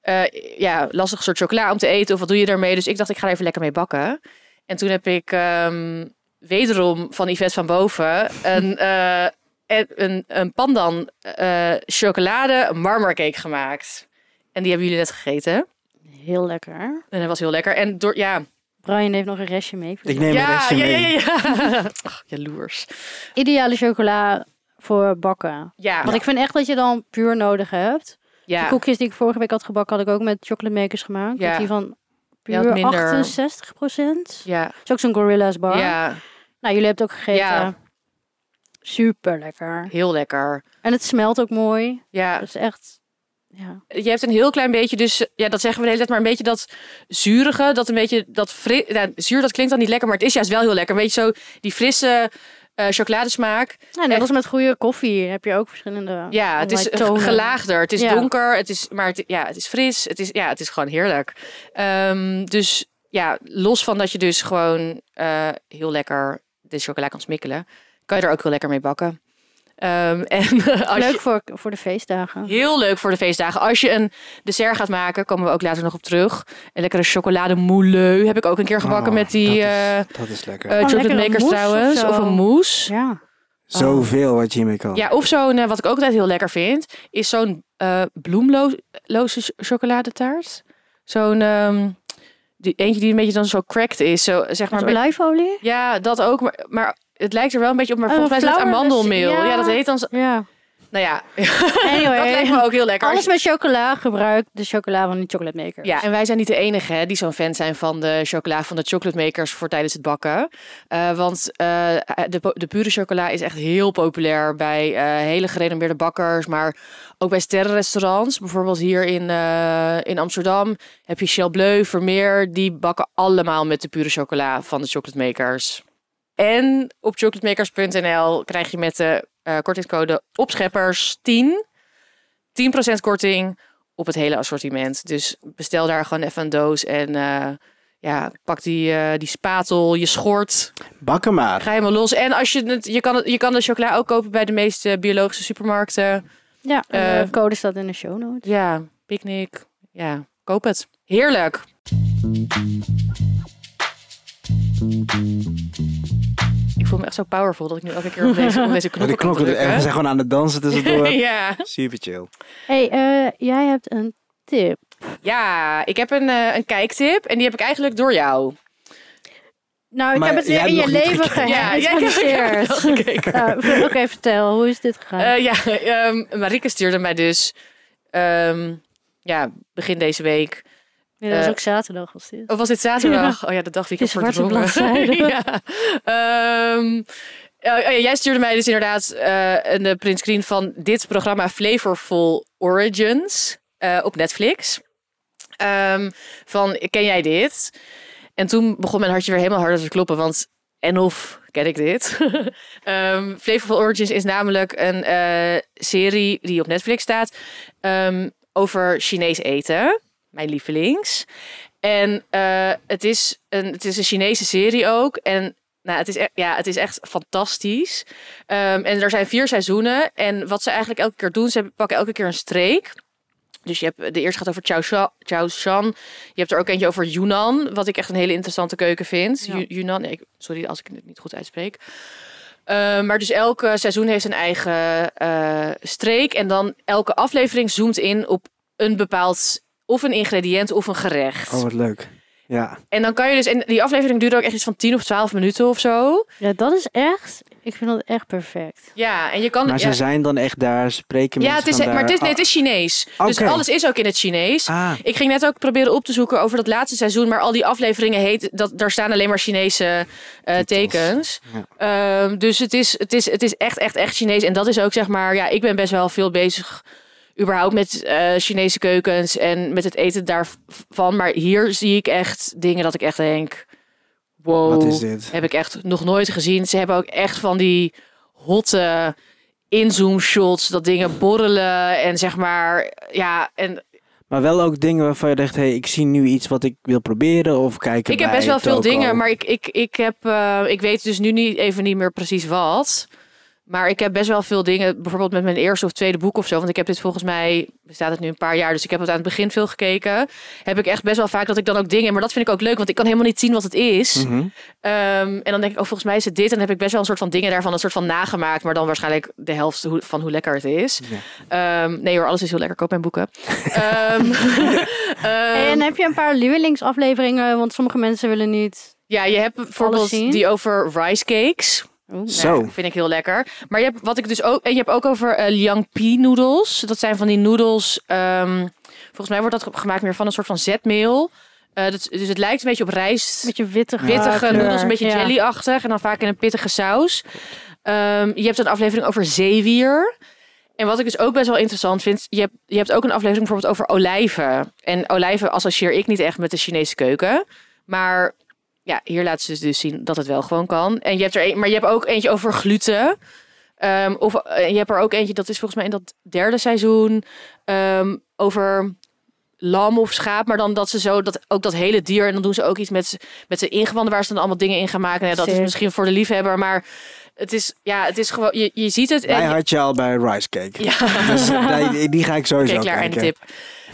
Speaker 3: eh, ja, lastig soort chocola om te eten. Of wat doe je daarmee? Dus ik dacht, ik ga er even lekker mee bakken. En toen heb ik ehm, wederom van Yvette van Boven een, [LAUGHS] eh, en- een, een pandan eh, chocolade marmercake gemaakt. En die hebben jullie net gegeten.
Speaker 2: Heel lekker.
Speaker 3: En dat was heel lekker. En door, ja,
Speaker 2: Brian heeft nog een restje mee.
Speaker 1: Ik neem een
Speaker 3: ja,
Speaker 1: restje
Speaker 3: ja,
Speaker 1: mee.
Speaker 3: ja,
Speaker 1: [LAUGHS]
Speaker 3: ja, ja. [LAUGHS] Ach, jaloers.
Speaker 2: Ideale chocola voor bakken.
Speaker 3: Ja,
Speaker 2: Want ik vind echt dat je dan puur nodig hebt. De
Speaker 3: ja.
Speaker 2: koekjes die ik vorige week had gebakken, had ik ook met chocolate makers gemaakt.
Speaker 3: Ja.
Speaker 2: Met die van
Speaker 3: Je had
Speaker 2: puur
Speaker 3: minder.
Speaker 2: 68 procent.
Speaker 3: ja.
Speaker 2: is ook zo'n Gorilla's bar.
Speaker 3: Ja,
Speaker 2: Nou, jullie hebben het ook gegeten.
Speaker 3: Ja.
Speaker 2: Super lekker.
Speaker 3: heel lekker.
Speaker 2: En het smelt ook mooi.
Speaker 3: Ja,
Speaker 2: Dat is echt... Ja.
Speaker 3: je hebt een heel klein beetje, dus ja, dat zeggen we de hele tijd, maar een beetje dat zurige, dat een beetje dat fri- ja, zuur, dat klinkt dan niet lekker, maar het is juist wel heel lekker. Een beetje zo die frisse eh, chocoladesmaak.
Speaker 2: Ja, net
Speaker 3: Echt.
Speaker 2: als met goede koffie heb je ook verschillende.
Speaker 3: Ja, het is
Speaker 2: allerlei tonen.
Speaker 3: gelaagder, het is
Speaker 2: Ja.
Speaker 3: donker, het is, maar het, ja, het is fris, het is, ja, het is gewoon heerlijk. Ehm, dus ja, los van dat je dus gewoon eh, heel lekker de chocola kan smikkelen, kan je er ook heel lekker mee bakken. Ehm, en [LAUGHS] als
Speaker 2: Leuk
Speaker 3: je-
Speaker 2: voor, voor de feestdagen.
Speaker 3: Heel leuk voor de feestdagen. Als je een dessert gaat maken, komen we ook later nog op terug. Een lekkere chocolademoulleu heb ik ook een keer gebakken
Speaker 2: Ah,
Speaker 1: Oh,
Speaker 3: met die
Speaker 1: dat
Speaker 3: eh, eh,
Speaker 1: is, dat is lekker.
Speaker 3: chocolate
Speaker 2: Oh, lekkere
Speaker 3: makers
Speaker 2: mousse of
Speaker 3: trouwens.
Speaker 2: zo.
Speaker 3: Of, een mousse.
Speaker 2: Ja.
Speaker 1: Zoveel wat je hiermee kan.
Speaker 3: Ja, of zo'n, eh, wat ik ook altijd heel lekker vind, is zo'n eh, eh, bloemloze ch- chocoladetaart. Zo'n ehm, die, eentje die een beetje dan zo cracked is. Zo, zeg maar,
Speaker 2: Met
Speaker 3: een be-
Speaker 2: olijfolie?
Speaker 3: ja, dat ook. Maar, maar het lijkt er wel een beetje op. Maar
Speaker 2: Oh,
Speaker 3: volgens mij is dat
Speaker 2: flower-
Speaker 3: amandelmeel.
Speaker 2: ja.
Speaker 3: Ja. dat heet dan... zo-
Speaker 2: Ja.
Speaker 3: Nou ja, [LAUGHS] dat lijkt
Speaker 2: Anyway.
Speaker 3: me ook heel lekker. Als
Speaker 2: Alles
Speaker 3: je-
Speaker 2: met chocola gebruikt de chocola van die chocolate maker.
Speaker 3: Ja, en wij zijn niet de enige hè, die zo'n fan zijn van de chocola van de chocolate makers voor tijdens het bakken. Eh, want eh, de, po- de pure chocola is echt heel populair bij eh, hele gerenommeerde bakkers, maar ook bij sterrenrestaurants. Bijvoorbeeld hier in, eh, in Amsterdam heb je Shell Bleu, Vermeer, die bakken allemaal met de pure chocola van de chocolate makers. En op chocolatemakers.nl krijg je met de eh, kortingscode opscheppers 10 10% korting op het hele assortiment. Dus bestel daar gewoon even een doos en eh, ja, pak die, eh, die spatel, je schort,
Speaker 1: Bak hem maar.
Speaker 3: ga helemaal los. En als je het, je kan, het- je kan de chocola ook kopen bij de meeste biologische supermarkten.
Speaker 2: Ja,
Speaker 3: Eh,
Speaker 2: de code staat in de show notes.
Speaker 3: Ja, picknick. Ja, koop het. Heerlijk. Ik voel me echt zo powerful dat ik nu elke keer op deze, op deze
Speaker 1: Ja, de
Speaker 3: knoppen kan
Speaker 1: Oh, knokken we zijn
Speaker 3: drukken.
Speaker 1: gewoon aan het dansen tussendoor.
Speaker 3: [LAUGHS] ja.
Speaker 1: Super chill.
Speaker 2: hey, eh, jij hebt een tip.
Speaker 3: ja, ik heb een, eh, een kijktip en die heb ik eigenlijk door jou.
Speaker 2: Nou, ik
Speaker 1: Maar
Speaker 2: heb het
Speaker 1: jij
Speaker 2: weer in je
Speaker 1: hebt nog niet
Speaker 2: leven
Speaker 1: gekeken.
Speaker 3: Ja, jij hebt-
Speaker 2: geherediseerd.
Speaker 3: Gekeken.
Speaker 2: Nou, [LAUGHS] Oké, vertel, hoe is dit gegaan?
Speaker 3: Eh, ja, [LAUGHS] ehm Marieke stuurde mij dus ehm, ja, begin deze week.
Speaker 2: Nee, dat was
Speaker 3: eh,
Speaker 2: ook zaterdag was dit.
Speaker 3: [LAUGHS] Of was dit zaterdag? Oh ja, dat dacht ik.
Speaker 2: Het
Speaker 3: heb
Speaker 2: is zwarte
Speaker 3: verdrongen.
Speaker 2: bladzijde.
Speaker 3: [LAUGHS] ja. Ehm, eh, oh ja, jij stuurde mij dus inderdaad eh, een eh, printscreen van dit programma Flavorful Origins eh, op Netflix. Ehm, van, ken jij dit? En toen begon mijn hartje weer helemaal harder te kloppen, want en of ken ik dit? [LAUGHS] Ehm Flavorful Origins is namelijk een eh, serie die op Netflix staat ehm, over Chinees eten. Mijn lievelings. En eh, het, is een, het is een Chinese serie ook. En nou, het, is e- ja, het is echt fantastisch. Ehm, en er zijn vier seizoenen. En wat ze eigenlijk elke keer doen, ze pakken elke keer een streek. Dus je hebt de eerste gaat over Chaosha- Chaoshan. Je hebt er ook eentje over Yunnan, wat ik echt een hele interessante keuken vind.
Speaker 2: Ja.
Speaker 3: Yu- Yunnan, nee, ik- sorry als ik het niet goed uitspreek. Eh, maar dus elk eh, seizoen heeft een eigen eh, streek. En dan elke aflevering zoomt in op een bepaald... of een ingrediënt of een gerecht.
Speaker 1: Oh, wat leuk. Ja.
Speaker 3: En dan kan je dus, en die aflevering duurde ook echt iets van 10 of 12 minuten of zo.
Speaker 2: Ja, dat is echt, ik vind dat echt perfect.
Speaker 3: Ja, en je kan.
Speaker 1: Maar
Speaker 3: ja,
Speaker 1: ze zijn dan echt daar, spreken
Speaker 3: ja,
Speaker 1: mensen
Speaker 3: het is,
Speaker 1: van
Speaker 3: maar het is,
Speaker 1: daar- Ah.
Speaker 3: nee, het is Chinees. Dus
Speaker 1: Oké.
Speaker 3: alles is ook in het Chinees.
Speaker 1: Ah,
Speaker 3: Ik ging net ook proberen op te zoeken over dat laatste seizoen, maar al die afleveringen heet, dat, daar staan alleen maar Chinese eh,
Speaker 1: Titels.
Speaker 3: tekens. Ehm, dus het is, het, is, het is echt, echt, echt Chinees. En dat is ook zeg maar, ja, ik ben best wel veel bezig überhaupt met eh, Chinese keukens en met het eten daarvan. Maar hier zie ik echt dingen dat ik echt denk, wow.
Speaker 1: wat is dit?
Speaker 3: Heb ik echt nog nooit gezien. Ze hebben ook echt van die hotte inzoom shots. Dat dingen borrelen en zeg maar... Ja, en
Speaker 1: Maar wel ook dingen waarvan je dacht, hey, ik zie nu iets wat ik wil proberen of kijken
Speaker 3: ik heb
Speaker 1: bij
Speaker 3: best wel veel
Speaker 1: Toko.
Speaker 3: dingen, maar ik, ik, ik, heb, eh, ik weet dus nu niet, even niet meer precies wat. Maar ik heb best wel veel dingen, bijvoorbeeld met mijn eerste of tweede boek of zo. Want ik heb dit volgens mij, bestaat het nu een paar jaar, dus ik heb het aan het begin veel gekeken. Heb ik echt best wel vaak dat ik dan ook dingen, maar dat vind ik ook leuk, want ik kan helemaal niet zien wat het is.
Speaker 1: Mhm.
Speaker 3: Ehm, en dan denk ik, oh, volgens mij is het dit. En dan heb ik best wel een soort van dingen daarvan, een soort van nagemaakt. Maar dan waarschijnlijk de helft hoe- van hoe lekker het is.
Speaker 1: Ja.
Speaker 3: Ehm, nee hoor, alles is heel lekker. Koop mijn boeken. Ehm, [LAUGHS] ehm,
Speaker 2: en heb je een paar lievelingsafleveringen? Want sommige mensen willen niet...
Speaker 3: ja, je hebt bijvoorbeeld
Speaker 2: zien?
Speaker 3: die over rice cakes.
Speaker 2: Oeh.
Speaker 1: Zo.
Speaker 3: Nou, vind ik heel lekker. Maar je hebt wat ik dus ook. En je hebt ook over eh Liang Pi noedels. Dat zijn van die noedels. ehm, volgens mij wordt dat gemaakt meer van een soort van zetmeel. Eh, dat, dus het lijkt een beetje op rijst.
Speaker 2: Beetje wittige,
Speaker 3: Pittige
Speaker 2: kleur.
Speaker 3: noedels, een beetje
Speaker 2: Ja.
Speaker 3: jellyachtig. En dan vaak in een pittige saus. Ehm, je hebt een aflevering over zeewier. En wat ik dus ook best wel interessant vind... Je hebt, je hebt ook een aflevering bijvoorbeeld over olijven. En olijven associeer ik niet echt met de Chinese keuken. Maar ja, hier laten ze dus, dus zien dat het wel gewoon kan. En je hebt er een, maar je hebt ook eentje over gluten. Ehm, of eh, je hebt er ook eentje, dat is volgens mij in dat derde seizoen... ehm, over lam of schaap, maar dan dat ze zo dat ook dat hele dier en dan doen ze ook iets met met zijn ingewanden waar ze dan allemaal dingen in gaan maken. Nee, dat is
Speaker 2: Sick.
Speaker 3: misschien voor de liefhebber, maar het is ja, het is gewoon je, je ziet het.
Speaker 1: Wij
Speaker 3: en-
Speaker 1: had je al bij Rice Cake.
Speaker 3: ja,
Speaker 1: Dus eh, die, die ga ik sowieso
Speaker 3: Oké, klaar en
Speaker 1: kijken.
Speaker 3: tip.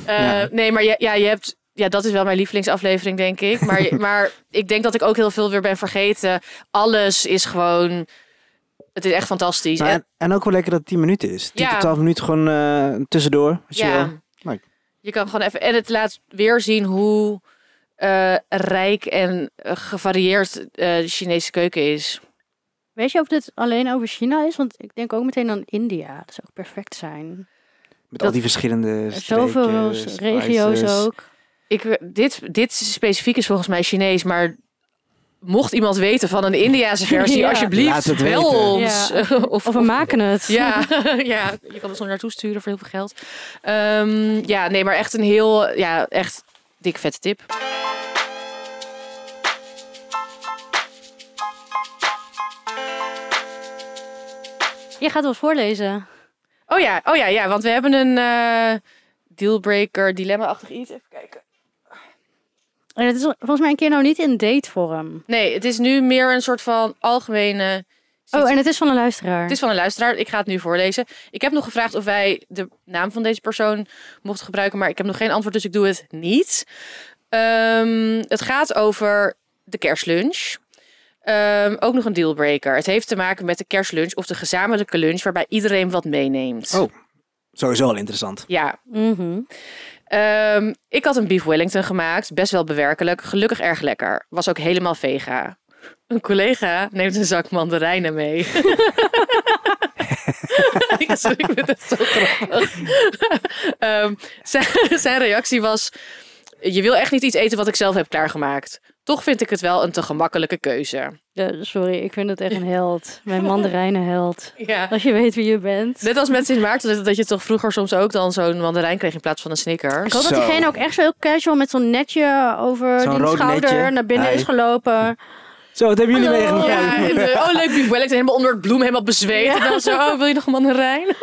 Speaker 3: Eh,
Speaker 1: Ja.
Speaker 3: Nee, maar je, ja, je hebt. Ja, dat is wel mijn lievelingsaflevering, denk ik. Maar,
Speaker 1: [LAUGHS]
Speaker 3: je- maar ik denk dat ik ook heel veel weer ben vergeten. Alles is gewoon. Het is echt fantastisch.
Speaker 1: Nou, en, en ook wel lekker dat het 10 minuten is. 10
Speaker 3: Ja.
Speaker 1: tot 12 minuten gewoon eh, tussendoor. Als je wil.
Speaker 3: ja.
Speaker 1: Leuk.
Speaker 3: Je kan gewoon even. En het laat weer zien hoe eh, rijk en eh, gevarieerd eh, de Chinese keuken is.
Speaker 2: Weet je of dit alleen over China is? Want ik denk ook meteen aan India. Dat zou ook perfect zijn.
Speaker 1: Met al
Speaker 3: Dat-
Speaker 1: die verschillende
Speaker 2: Zoveel
Speaker 1: streken,
Speaker 2: regio's
Speaker 1: spices.
Speaker 2: ook.
Speaker 3: Ik, dit, dit specifiek is volgens mij Chinees, maar mocht iemand weten van een Indiase
Speaker 1: [LAUGHS]
Speaker 3: versie,
Speaker 2: Ja.
Speaker 1: Laat
Speaker 3: alsjeblieft,
Speaker 1: het
Speaker 3: wel
Speaker 1: weten.
Speaker 3: ons. eh,
Speaker 2: Ja.
Speaker 3: Of,
Speaker 2: Of we maken
Speaker 3: [LAUGHS]
Speaker 2: het.
Speaker 3: Ja, ja, je kan het zo naartoe sturen voor heel veel geld. Ehm, ja, nee, maar echt een heel, ja, echt dik vette tip.
Speaker 2: Je gaat wel voorlezen.
Speaker 3: Oh ja, oh ja, ja, want we hebben een eh, dealbreaker, dilemma-achtig iets. Even kijken.
Speaker 2: En het is volgens mij een keer nou niet in datevorm.
Speaker 3: Nee, het is nu meer een soort van algemene.
Speaker 2: Oh, en het is van een luisteraar.
Speaker 3: Het is van een luisteraar. Ik ga het nu voorlezen. Ik heb nog gevraagd of wij de naam van deze persoon mochten gebruiken, maar ik heb nog geen antwoord, dus ik doe het niet. Ehm, het gaat over de kerstlunch. Ehm, ook nog een dealbreaker. Het heeft te maken met de kerstlunch of de gezamenlijke lunch waarbij iedereen wat meeneemt.
Speaker 1: Oh. Sowieso al interessant.
Speaker 3: Ja,
Speaker 2: Mhm.
Speaker 3: Ehm, ik had een beef wellington gemaakt, best wel bewerkelijk, gelukkig erg lekker. Was ook helemaal vega. Een collega neemt een zak mandarijnen mee. [LAUGHS] ja, sorry, ik vind het zo grappig. Ehm, zijn, zijn reactie was, je wil echt niet iets eten wat ik zelf heb klaargemaakt. Toch vind ik het wel een te gemakkelijke keuze.
Speaker 2: Ja, sorry, ik vind het echt een held. Mijn mandarijnenheld.
Speaker 3: Ja.
Speaker 2: Als je weet wie je bent.
Speaker 3: Net als met Sint Maarten, dat je toch vroeger soms ook dan zo'n mandarijn kreeg in plaats van een
Speaker 2: Ik
Speaker 3: Snickers.
Speaker 2: hoop dat
Speaker 1: Zo.
Speaker 2: diegene ook echt zo heel casual met zo'n netje over
Speaker 1: Zo'n
Speaker 2: die
Speaker 1: rood
Speaker 2: schouder
Speaker 1: netje.
Speaker 2: naar binnen
Speaker 1: Hi.
Speaker 2: is
Speaker 1: [LAUGHS]
Speaker 2: gelopen.
Speaker 1: Zo, wat hebben jullie
Speaker 2: Hallo.
Speaker 1: meegemaakt?
Speaker 3: Ja, en, eh, oh leuk beef wellington, helemaal onder het bloem, helemaal bezweet. En dan zo, oh wil je nog een mandarijn?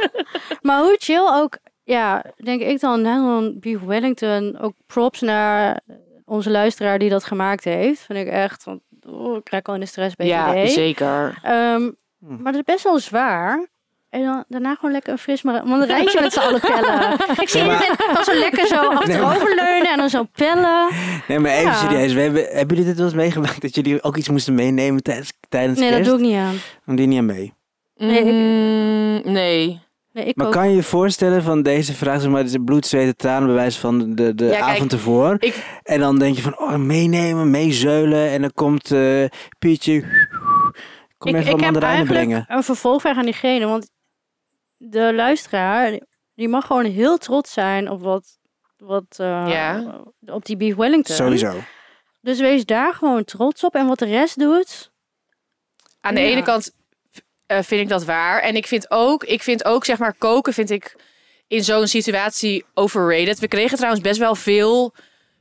Speaker 2: Maar hoe chill ook, ja, denk ik dan, na zo'n Beef Wellington, ook props naar onze luisteraar die dat gemaakt heeft. Vind ik echt, want oh, ik raak al in de stress bij het idee.
Speaker 3: zeker.
Speaker 2: Ehm,
Speaker 1: Hm.
Speaker 2: Maar dat is best wel zwaar. En dan, daarna gewoon lekker een fris mara- mandarijntje met z'n allen pellen. Ik zie
Speaker 1: Nee, maar-
Speaker 2: iedereen dan zo lekker zo achteroverleunen en dan zo pellen.
Speaker 1: Nee, maar even
Speaker 2: Ja.
Speaker 1: serieus. We hebben, hebben jullie dit wel eens meegemaakt dat jullie ook iets moesten meenemen tijdens, tijdens
Speaker 2: Nee, dat
Speaker 1: kerst?
Speaker 2: doe ik niet aan.
Speaker 1: Dan die niet aan mee.
Speaker 2: Nee, ik-
Speaker 3: Mm, nee.
Speaker 2: Nee, ik
Speaker 1: Maar
Speaker 2: ook.
Speaker 1: kan je je voorstellen van deze vraag, zeg maar, dit is bloed, zweet en tranen bewijs van de, de
Speaker 3: kijk,
Speaker 1: avond ervoor.
Speaker 3: ik-
Speaker 1: En dan denk je van, oh, meenemen, meezeulen. En dan komt eh, Pietje, kom
Speaker 2: ik,
Speaker 1: even
Speaker 2: ik
Speaker 1: wat
Speaker 2: heb
Speaker 1: mandarijnen
Speaker 2: eigenlijk
Speaker 1: brengen.
Speaker 2: een vervolgvraag aan diegene. Want de luisteraar, die mag gewoon heel trots zijn op wat... wat eh,
Speaker 3: Ja.
Speaker 2: Op die Beef Wellington.
Speaker 1: Sowieso.
Speaker 2: Dus wees daar gewoon trots op. En wat de rest doet...
Speaker 3: Aan de
Speaker 2: Ja.
Speaker 3: ene kant eh, vind ik dat waar. En ik vind ook, ik vind ook zeg maar, koken vind ik in zo'n situatie overrated. We kregen trouwens best wel veel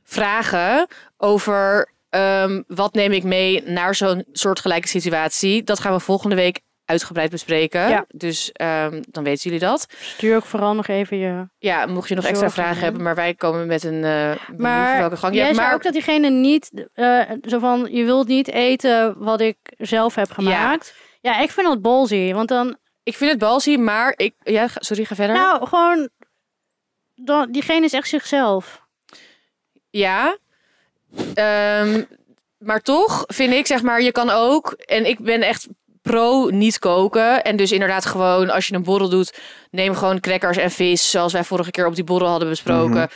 Speaker 3: vragen over ehm, wat neem ik mee naar zo'n soortgelijke situatie. Dat gaan we volgende week uitgebreid bespreken.
Speaker 2: Ja.
Speaker 3: Dus ehm, dan weten jullie dat.
Speaker 2: Stuur ook vooral nog even je...
Speaker 3: Ja, mocht je nog extra
Speaker 2: Zorgen,
Speaker 3: vragen
Speaker 2: hè?
Speaker 3: hebben, maar wij komen met een eh
Speaker 2: Maar
Speaker 3: maar, welke gang je
Speaker 2: Jij
Speaker 3: hebt.
Speaker 2: zei
Speaker 3: Maar
Speaker 2: ook dat diegene niet... eh, zo van, je wilt niet eten wat ik zelf heb gemaakt. Ja, ik vind dat bolzie. Want dan...
Speaker 3: ik vind het balsie, maar ik. Ja, ga- sorry, ga verder.
Speaker 2: Nou, gewoon... Dan, diegene is echt zichzelf.
Speaker 3: Ja. Ehm, maar toch vind ik, zeg maar, je kan ook. En ik ben echt pro niet koken. En dus inderdaad gewoon, als je een borrel doet, neem gewoon crackers en vis. Zoals wij vorige keer op die borrel hadden besproken.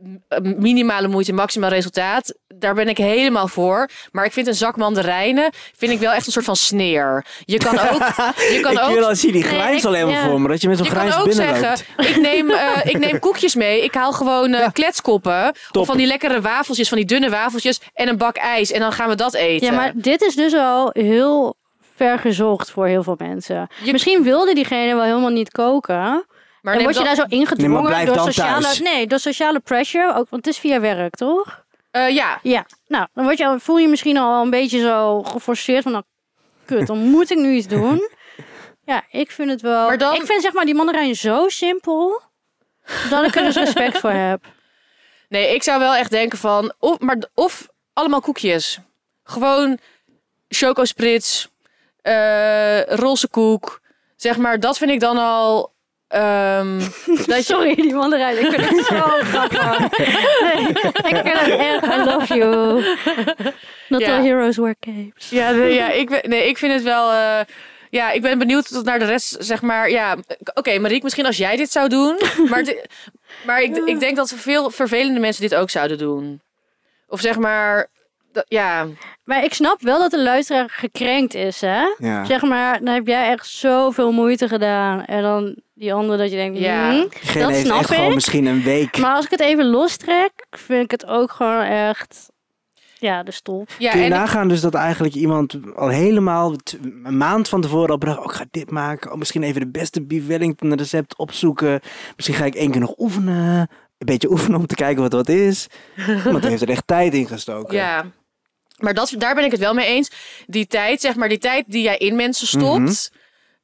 Speaker 2: Mhm.
Speaker 3: M- Minimale moeite, maximaal resultaat. Daar ben ik helemaal voor. Maar ik vind een zak mandarijnen, vind ik wel echt een soort van sneer. Je kan
Speaker 2: [LAUGHS]
Speaker 3: ook... Je kan
Speaker 1: ik
Speaker 3: ook
Speaker 1: wil al zien die
Speaker 2: Nee,
Speaker 1: grijns
Speaker 2: ik-
Speaker 1: al helemaal
Speaker 2: ja.
Speaker 1: voor me. Dat je met zo'n
Speaker 3: je
Speaker 1: grijns
Speaker 3: kan ook
Speaker 1: binnenloopt.
Speaker 3: zeggen, ik neem, eh, ik
Speaker 1: [LAUGHS]
Speaker 3: neem koekjes mee. Ik haal gewoon eh, kletskoppen.
Speaker 1: Top.
Speaker 3: Of van die lekkere wafeltjes, van die dunne wafeltjes. En een bak ijs. En dan gaan we dat eten.
Speaker 2: Ja, maar dit is dus al heel ver gezocht voor heel veel mensen.
Speaker 3: Je-
Speaker 2: Misschien wilde diegene wel helemaal niet koken.
Speaker 3: Maar
Speaker 2: en
Speaker 3: neem
Speaker 2: word je
Speaker 3: dan-
Speaker 2: daar zo ingedwongen
Speaker 1: Nee, maar blijf
Speaker 2: door
Speaker 1: dan
Speaker 2: sociale...
Speaker 1: thuis.
Speaker 2: Nee, door sociale pressure. Ook, want het is via werk, toch?
Speaker 3: eh, ja.
Speaker 2: Ja. Nou, dan word je, al- voel je misschien al een beetje zo geforceerd van... Nou, kut, dan moet ik nu iets
Speaker 1: [LAUGHS]
Speaker 2: doen. Ja, ik vind het wel...
Speaker 3: Maar dan-
Speaker 2: Ik vind zeg maar die mandarijn zo simpel... dat ik er dus respect voor heb.
Speaker 3: Nee, ik zou wel echt denken van... Of, maar, d- of allemaal koekjes. Gewoon chocosprits. eh roze koek. Zeg maar, dat vind ik dan al... ehm, dat je,
Speaker 2: [LAUGHS] Sorry, die mandarijn. Ik vind het [LAUGHS] zo grappig. Nee, ik vind het echt. I love you. Not
Speaker 3: Ja.
Speaker 2: all heroes wear capes.
Speaker 3: Ja, nee, ja ik, ben- nee, ik vind het wel. eh, Ja, ik ben benieuwd tot naar de rest, zeg maar. Ja, oké, Mariek, misschien als jij dit
Speaker 1: [LAUGHS]
Speaker 3: zou doen. Maar, de- maar ik, ik denk dat veel vervelende mensen dit ook zouden doen. Of zeg maar, dat- ja.
Speaker 2: Maar ik snap wel dat de luisteraar gekrenkt is, hè?
Speaker 1: Ja.
Speaker 2: Zeg maar, dan heb jij echt zoveel moeite gedaan. En dan die andere dat je denkt,
Speaker 3: Ja.
Speaker 2: ja.
Speaker 1: Diegene
Speaker 2: dat
Speaker 1: heeft
Speaker 2: snap
Speaker 1: echt gewoon
Speaker 2: ik.
Speaker 1: misschien een week.
Speaker 2: Maar als ik het even lostrek, vind ik het ook gewoon echt... Ja, de stoel.
Speaker 3: ja
Speaker 1: Kun je
Speaker 3: en ik-
Speaker 1: nagaan dus dat eigenlijk iemand al helemaal t- een maand van tevoren al bedacht... Oh, ik ga dit maken. Oh, misschien even de beste beef Wellington recept opzoeken. Misschien ga ik één keer nog oefenen. Een beetje oefenen om te kijken wat wat is. Want heeft er echt tijd in gestoken.
Speaker 3: Ja. Maar dat, daar ben ik het wel mee eens. Die tijd, zeg maar, die tijd die jij in mensen stopt.
Speaker 1: Mhm.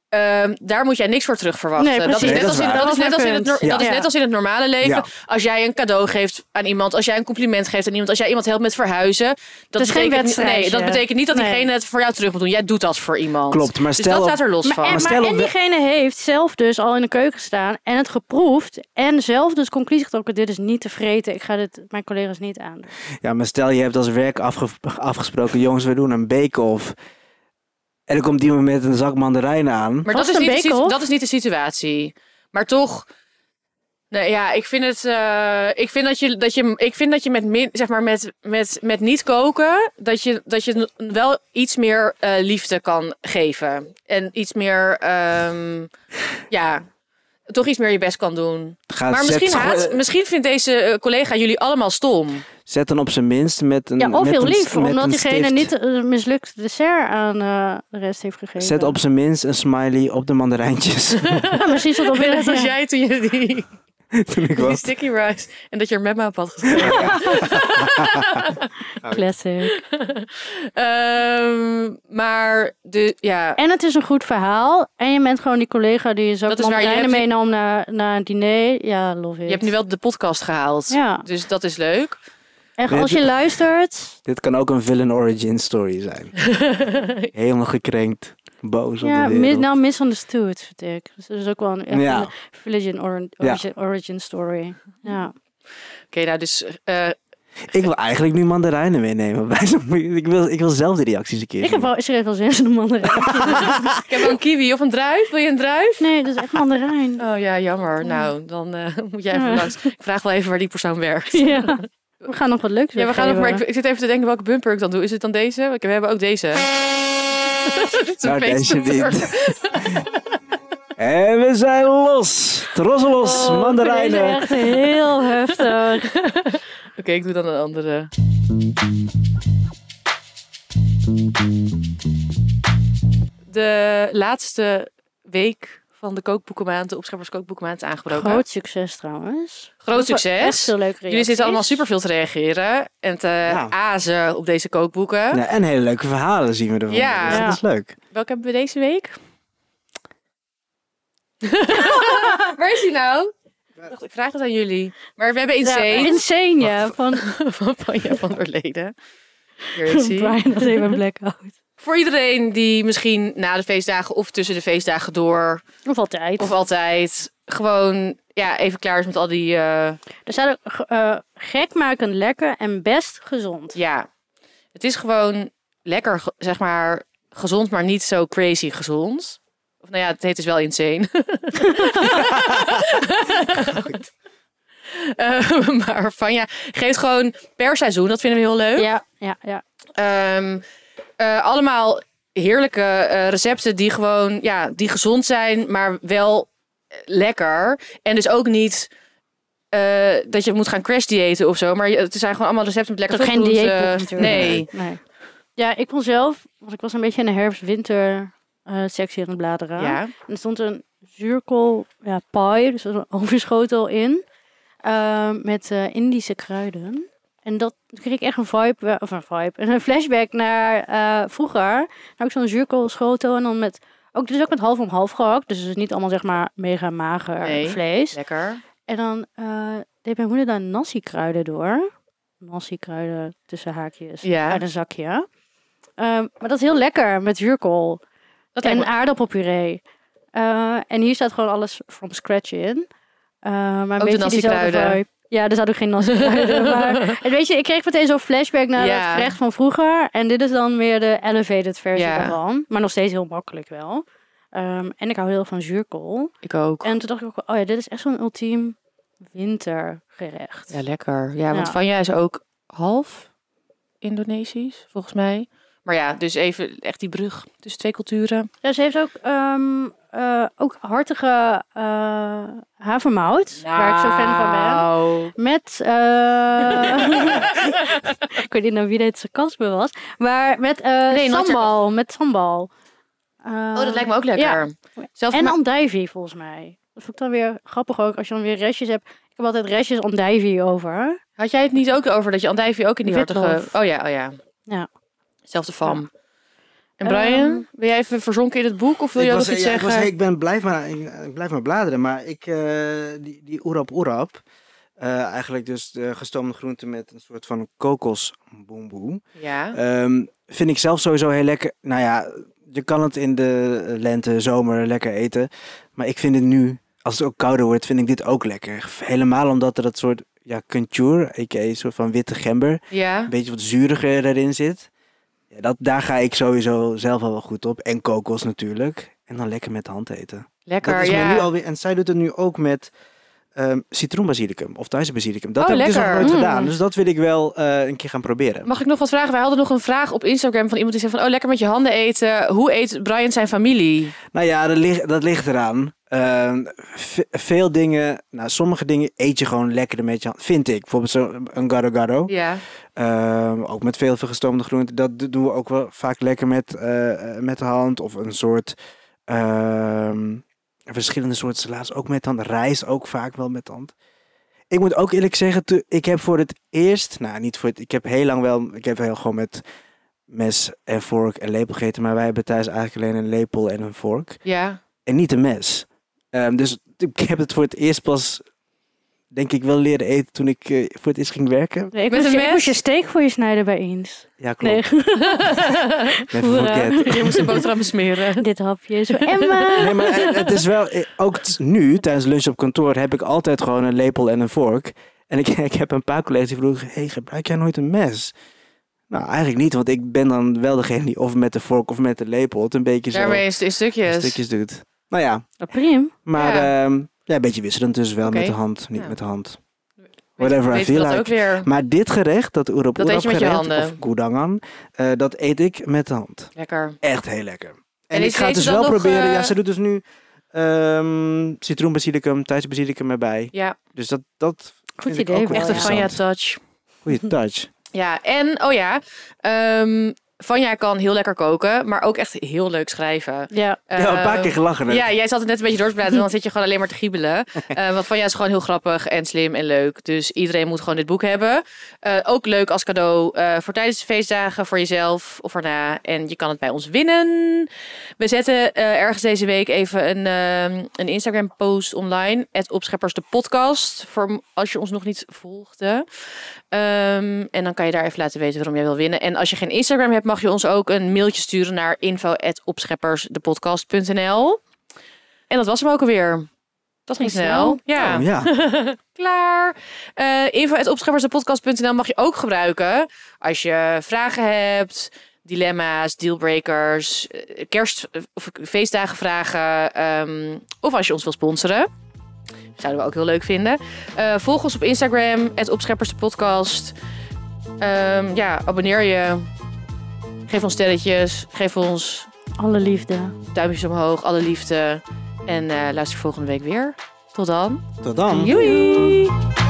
Speaker 3: ehm, daar moet jij niks voor terug verwachten.
Speaker 2: Nee,
Speaker 3: dat is
Speaker 2: precies.
Speaker 3: net
Speaker 1: Nee,
Speaker 3: als
Speaker 1: dat is
Speaker 3: in-
Speaker 1: waar.
Speaker 3: dat is net als in het nor-
Speaker 1: Ja.
Speaker 3: dat is
Speaker 2: Ja.
Speaker 3: net als in het normale leven.
Speaker 1: Ja.
Speaker 3: Als jij een cadeau geeft aan iemand, als jij een compliment geeft aan iemand, als jij iemand helpt met verhuizen. Dat
Speaker 2: is geen
Speaker 3: betekent-
Speaker 2: wedstrijdje.
Speaker 3: Nee, dat betekent niet dat
Speaker 2: Nee.
Speaker 3: diegene het voor jou terug moet doen. Jij doet dat voor iemand.
Speaker 1: Klopt, maar
Speaker 3: Dus
Speaker 1: stel-
Speaker 3: dat staat er los van.
Speaker 2: Maar, en,
Speaker 1: stel
Speaker 2: maar
Speaker 1: op
Speaker 2: en
Speaker 1: de-
Speaker 2: diegene heeft zelf dus al in de keuken gestaan en het geproefd. En zelf dus conclusie getrokken, dit is niet te vreten. Ik ga dit mijn collega's niet aan.
Speaker 1: Ja, maar stel je hebt als werk afge- afgesproken, jongens, we doen een bake-off. En dan komt iemand met een zak mandarijnen aan.
Speaker 3: Maar
Speaker 2: Was
Speaker 3: dat is,
Speaker 2: het
Speaker 3: niet
Speaker 2: een
Speaker 3: de, situ-
Speaker 2: bake-off?
Speaker 3: dat is niet de situatie. Maar toch. Nee, ja, ik vind het. eh, ik vind dat je, dat je, ik vind dat je met, min, zeg maar met, met, met niet koken. Dat je, dat je n- wel iets meer eh, liefde kan geven. En iets meer. ehm, ja, toch iets meer je best kan doen.
Speaker 1: Ga-
Speaker 3: Maar
Speaker 1: zet,
Speaker 3: misschien,
Speaker 1: gewoon-
Speaker 3: haat, misschien vindt deze eh, collega jullie allemaal stom.
Speaker 1: zet dan op zijn minst met een
Speaker 2: Ja, of
Speaker 1: met
Speaker 2: heel
Speaker 1: een-
Speaker 2: lief,
Speaker 1: met
Speaker 2: omdat
Speaker 1: een
Speaker 2: diegene
Speaker 1: stift.
Speaker 2: niet een mislukt dessert aan eh, de rest heeft gegeven.
Speaker 1: Zet op zijn minst een smiley op de mandarijntjes.
Speaker 2: [LAUGHS]
Speaker 1: [LAUGHS]
Speaker 2: Ja, misschien
Speaker 3: [LAUGHS]
Speaker 2: zat dat weer
Speaker 3: Net als
Speaker 2: ja.
Speaker 3: jij toen je die,
Speaker 1: Toen ik
Speaker 3: die
Speaker 1: was.
Speaker 3: sticky rice. En dat je er met me op had geschreven.
Speaker 2: classic.
Speaker 3: Ehm, maar de, ja,
Speaker 2: En het is een goed verhaal. En je bent gewoon die collega die je zo
Speaker 3: Dat is waar, je
Speaker 2: mandarijnen
Speaker 3: hebt-
Speaker 2: meenam naar, naar een diner. Ja, love it.
Speaker 3: je hebt nu wel de podcast gehaald.
Speaker 2: Ja.
Speaker 3: Dus dat is leuk.
Speaker 2: En als je
Speaker 1: Dit-
Speaker 2: luistert,
Speaker 1: Dit kan ook een villain origin story
Speaker 3: [LAUGHS]
Speaker 1: zijn. Helemaal gekrenkt. Boos
Speaker 2: ja,
Speaker 1: op de
Speaker 2: mis,
Speaker 1: wereld.
Speaker 2: nou misunderstood, vind ik. Dus dat is ook wel een, echt
Speaker 1: Ja.
Speaker 2: een village in orin-
Speaker 1: Ja.
Speaker 2: origin, origin story. Ja.
Speaker 3: Oké, nou dus eh,
Speaker 1: Ik wil eigenlijk nu mandarijnen meenemen. [LAUGHS] bij zo'n- ik, wil, ik wil zelf de reacties een keer
Speaker 2: Ik heb
Speaker 1: zien.
Speaker 2: wel, is er even zin in een
Speaker 3: [LAUGHS]
Speaker 2: mandarijn?
Speaker 3: ik heb wel een kiwi of een druif. Wil je een druif?
Speaker 2: Nee, dat is echt mandarijn.
Speaker 3: Oh ja, jammer. Nou, dan eh, [LAUGHS] moet jij even
Speaker 2: Ja.
Speaker 3: langs. Ik vraag wel even waar die persoon werkt.
Speaker 2: Ja. We gaan nog wat leuks
Speaker 3: Ja, we gaan nog, maar ik,
Speaker 2: weggeven.
Speaker 3: ik zit even te denken welke bumper ik dan doe. Is het dan deze? Ik- We hebben ook deze. Dat is een
Speaker 1: Nou, deze
Speaker 3: feestbumper.
Speaker 1: niet. [LAUGHS] en we zijn los. Trosselos,
Speaker 3: Oh,
Speaker 1: mandarijnen.
Speaker 2: Deze is echt heel heftig. [LAUGHS]
Speaker 3: Oké, ik doe dan een andere. De laatste week van de kookboekenmaand, de Opscheppers Kookboekenmaand, is aangebroken.
Speaker 2: Groot succes trouwens.
Speaker 3: Groot
Speaker 2: Echt
Speaker 3: succes.
Speaker 2: heel leuk
Speaker 3: Jullie zitten allemaal superveel te reageren en te
Speaker 1: Ja.
Speaker 3: azen op deze kookboeken.
Speaker 1: Nou, en hele leuke verhalen zien we ervan.
Speaker 3: Ja.
Speaker 1: Dus dat is leuk.
Speaker 3: Welke hebben we deze week? [LAUGHS] Waar is hij nou? Wacht, ik vraag het aan jullie. Maar we hebben Insane
Speaker 2: Ja, insane, ja. Van
Speaker 3: [LAUGHS] van Panja van der Leden. Hier, [LAUGHS] ik zie.
Speaker 2: [LAUGHS] Brian had even een blackout.
Speaker 3: Voor iedereen die misschien na de feestdagen of tussen de feestdagen door
Speaker 2: Of altijd.
Speaker 3: of altijd gewoon ja, even klaar is met al die eh,
Speaker 2: Er staat ook ge- eh, gekmakend lekker en best gezond.
Speaker 3: ja. Het is gewoon lekker ge- zeg maar gezond, maar niet zo crazy gezond. Of nou ja, het heet dus wel insane. [LAUGHS] Eh, maar van ja, geeft gewoon per seizoen. Dat vinden we heel leuk.
Speaker 2: Ja, ja, ja.
Speaker 3: Ehm, eh, allemaal heerlijke eh, recepten die gewoon ja, die gezond zijn, maar wel eh, lekker. En dus ook niet eh, dat je moet gaan crash diëten of zo. Maar je- het zijn gewoon allemaal recepten met
Speaker 2: Dat is
Speaker 3: lekker
Speaker 2: geen
Speaker 3: topproducten.
Speaker 2: dieetboek natuurlijk.
Speaker 3: Nee.
Speaker 2: nee. Ja, ik kon zelf, want ik was een beetje in de herfst-winter eh sectie aan het bladeren.
Speaker 3: Ja.
Speaker 2: En er stond een zuurkool ja, pie, dus er was een overschotel in, eh, met eh, Indische kruiden. En dat toen kreeg ik echt een vibe, eh, of een vibe, een flashback naar eh, vroeger. Nou, ook zo'n zuurkoolschotel en dan met, ook, dus ook met half om half gehakt. Dus het is niet allemaal zeg maar mega mager
Speaker 3: Nee.
Speaker 2: vlees.
Speaker 3: Lekker.
Speaker 2: En dan eh, deed mijn moeder daar nasi-kruiden door. Nasi-kruiden tussen haakjes
Speaker 3: Ja.
Speaker 2: uit een zakje. Ehm, maar dat is heel lekker met zuurkool
Speaker 3: Dat lijkt
Speaker 2: en
Speaker 3: me-
Speaker 2: aardappelpuree. Eh, en hier staat gewoon alles from scratch in. Eh, maar een
Speaker 3: Ook de
Speaker 2: beetje diezelfde
Speaker 3: nasi-kruiden.
Speaker 2: vibe. Ja, er zat ook geen nas in.
Speaker 3: [LAUGHS]
Speaker 2: maar, en weet je, ik kreeg meteen zo'n flashback naar
Speaker 3: Ja.
Speaker 2: het gerecht van vroeger. En dit is dan weer de elevated versie
Speaker 3: Ja.
Speaker 2: daarvan. Maar nog steeds heel makkelijk wel. Ehm, en ik hou heel erg van zuurkool.
Speaker 3: Ik ook.
Speaker 2: En toen dacht ik ook, oh ja, dit is echt zo'n ultiem wintergerecht.
Speaker 3: Ja, lekker. Ja, want
Speaker 2: Ja.
Speaker 3: Vanja is ook half Indonesisch, volgens mij. Maar ja, dus even echt die brug tussen twee culturen.
Speaker 2: Ja, ze heeft ook, ehm, eh, ook hartige eh havermout, waar ik zo fan van
Speaker 3: Nou.
Speaker 2: ben. Met, eh, [LAUGHS] ik weet niet naar wie dit zijn kasbe was, maar met eh
Speaker 3: Nee, nooit
Speaker 2: sambal, met sambal. Eh,
Speaker 3: Oh, dat lijkt me ook lekker.
Speaker 2: Ja.
Speaker 3: Zelf
Speaker 2: En
Speaker 3: ma-
Speaker 2: andijvie volgens mij. Dat vond ik dan weer grappig ook, als je dan weer restjes hebt. Ik heb altijd restjes andijvie over.
Speaker 3: had jij het niet ook over dat je andijvie ook in die
Speaker 2: Witlof.
Speaker 3: hartige... Oh ja, oh ja.
Speaker 2: Ja.
Speaker 3: Zelfde fam. En Brian,
Speaker 2: Ehm,
Speaker 3: ben jij even verzonken in het boek of wil jij nog
Speaker 1: was-
Speaker 3: iets
Speaker 1: ja, ik
Speaker 3: zeggen?
Speaker 1: was- Ik, ben, blijf, maar, ik, ik blijf maar bladeren, maar ik, eh, die, die oerap oerap, eh, eigenlijk dus de gestoomde groente met een soort van kokosboemboe,
Speaker 3: Ja.
Speaker 1: Ehm, vind ik zelf sowieso heel lekker. Nou ja, je kan het in de lente, zomer lekker eten, maar ik vind het nu, als het ook kouder wordt, vind ik dit ook lekker. Helemaal omdat er dat soort, ja, contour, a.k.a. een soort van witte gember,
Speaker 3: Ja.
Speaker 1: een beetje wat zuuriger erin zit. Ja, dat, daar ga ik sowieso zelf al wel goed op. En kokos natuurlijk. En dan lekker met de hand eten.
Speaker 3: Lekker,
Speaker 1: Dat is
Speaker 3: ja.
Speaker 1: mij nu alweer, en zij doet het nu ook met ehm citroenbasilicum of Thaise basilicum. Dat
Speaker 3: Oh,
Speaker 1: heb ik dus nog
Speaker 3: lekker.
Speaker 1: nooit
Speaker 2: Mm.
Speaker 1: gedaan. Dus dat wil ik wel eh, een keer gaan proberen.
Speaker 3: Mag ik nog wat vragen? Wij hadden nog een vraag op Instagram van iemand die zei van... Oh, lekker met je handen eten. Hoe eet Brian zijn familie?
Speaker 1: Nou ja, dat ligt, dat ligt eraan. Ehm, ve- veel dingen, nou sommige dingen eet je gewoon lekkerder met je hand. Vind ik. Bijvoorbeeld zo'n een garo garo.
Speaker 3: Ja.
Speaker 1: Ehm, ook met veel gestoomde groenten. Dat do- doen we ook wel vaak lekker met, eh, eh, met de hand. Of een soort ehm, verschillende soorten salads ook met de hand. Rijst ook vaak wel met de hand. Ik moet ook eerlijk zeggen, toe- ik heb voor het eerst, nou niet voor het, ik heb heel lang wel, ik heb heel gewoon met mes en vork en lepel gegeten, maar wij hebben thuis eigenlijk alleen een lepel en een vork
Speaker 3: Ja.
Speaker 1: en niet een mes. Ehm, dus ik heb het voor het eerst pas, denk ik, wel leren eten toen ik eh, voor het eerst ging werken.
Speaker 2: Nee, ik,
Speaker 3: Met
Speaker 2: moest, je-
Speaker 3: een
Speaker 2: ik
Speaker 3: mes?
Speaker 2: moest je steek voor je snijden bij eens.
Speaker 1: Ja, klopt.
Speaker 2: Nee,
Speaker 1: Met
Speaker 2: Hoera.
Speaker 1: forget.
Speaker 3: [LAUGHS] Je moest de boterham
Speaker 2: [LAUGHS]
Speaker 3: smeren.
Speaker 2: dit hapje is voor Emma.
Speaker 1: [LAUGHS]
Speaker 3: [LAUGHS]
Speaker 1: Nee, maar het- het is wel... eh, Ook t- nu, tijdens lunch op kantoor, heb ik altijd gewoon een lepel en een vork. En ik, [LAUGHS] ik heb een paar collega's die vroegen... hey, gebruik jij nooit een mes? Nou, eigenlijk niet, want ik ben dan wel degene die of met de vork of met de lepel... het een beetje zo
Speaker 3: Daarmee is het in
Speaker 1: in
Speaker 3: stukjes.
Speaker 1: stukjes doet. Nou ja,
Speaker 2: Prim.
Speaker 1: maar
Speaker 3: Ja.
Speaker 1: ja. ja, een beetje wisselend dus. Wel met
Speaker 3: Oké.
Speaker 1: de hand, niet
Speaker 3: Ja.
Speaker 1: met de hand.
Speaker 3: Weet-
Speaker 1: Whatever I
Speaker 3: weet
Speaker 1: feel
Speaker 3: dat
Speaker 1: like.
Speaker 3: ook weer.
Speaker 1: Maar dit gerecht, dat oerop
Speaker 3: Dat eet je met je
Speaker 1: gerecht,
Speaker 3: handen.
Speaker 1: of goedangan... eh, dat eet ik met de hand.
Speaker 3: Lekker.
Speaker 1: Echt heel lekker. En,
Speaker 3: En is
Speaker 1: ik ga het dus
Speaker 3: deze
Speaker 1: wel
Speaker 3: dan nog,
Speaker 1: proberen.
Speaker 3: eh,
Speaker 1: Ja, ze doet dus nu ehm citroenbasilicum, Thaise basilicum erbij.
Speaker 3: Ja,
Speaker 1: Dus dat, dat vind
Speaker 2: idee,
Speaker 1: ik ook wel
Speaker 3: echt een
Speaker 2: interessant.
Speaker 3: Vanja touch. [LAUGHS]
Speaker 1: Goeie touch.
Speaker 3: Ja, en, oh ja, ehm, Vanja kan heel lekker koken, maar ook echt heel leuk schrijven. Ehm,
Speaker 2: Ja.
Speaker 1: ja, een paar keer gelachen. hè?
Speaker 3: Eh, Ja, jij zat het net een beetje door te
Speaker 1: [LAUGHS]
Speaker 3: praten, dan zit je gewoon alleen maar te giebelen. Eh, want Vanja is gewoon heel grappig en slim en leuk. Dus iedereen moet gewoon dit boek hebben. Eh, ook leuk als cadeau eh, voor tijdens de feestdagen, voor jezelf of erna. En je kan het bij ons winnen. We zetten eh, ergens deze week even een, ehm, een Instagram-post online. Het Opscheppers de Podcast. Voor als je ons nog niet volgde. Ehm, en dan kan je daar even laten weten waarom jij wil winnen. En als je geen Instagram hebt, mag je ons ook een mailtje sturen naar info.opscheppersdepodcast.nl. En dat was hem ook alweer. Dat ging
Speaker 2: Ging
Speaker 3: snel. Ja
Speaker 1: Oh, ja.
Speaker 3: [LAUGHS] klaar. Eh info.opscheppersdepodcast.nl mag je ook gebruiken als je vragen hebt, dilemma's, dealbreakers, eh, kerst- of feestdagenvragen ehm, of als je ons wil sponsoren. Zouden we ook heel leuk vinden. Eh, volg ons op Instagram, opscheppersdepodcast. Ehm, ja, abonneer je. Geef ons sterretjes. Geef ons
Speaker 2: Alle liefde.
Speaker 3: duimpjes omhoog. Alle liefde. En eh, luister volgende week weer. Tot dan.
Speaker 1: Tot dan.
Speaker 3: Doei.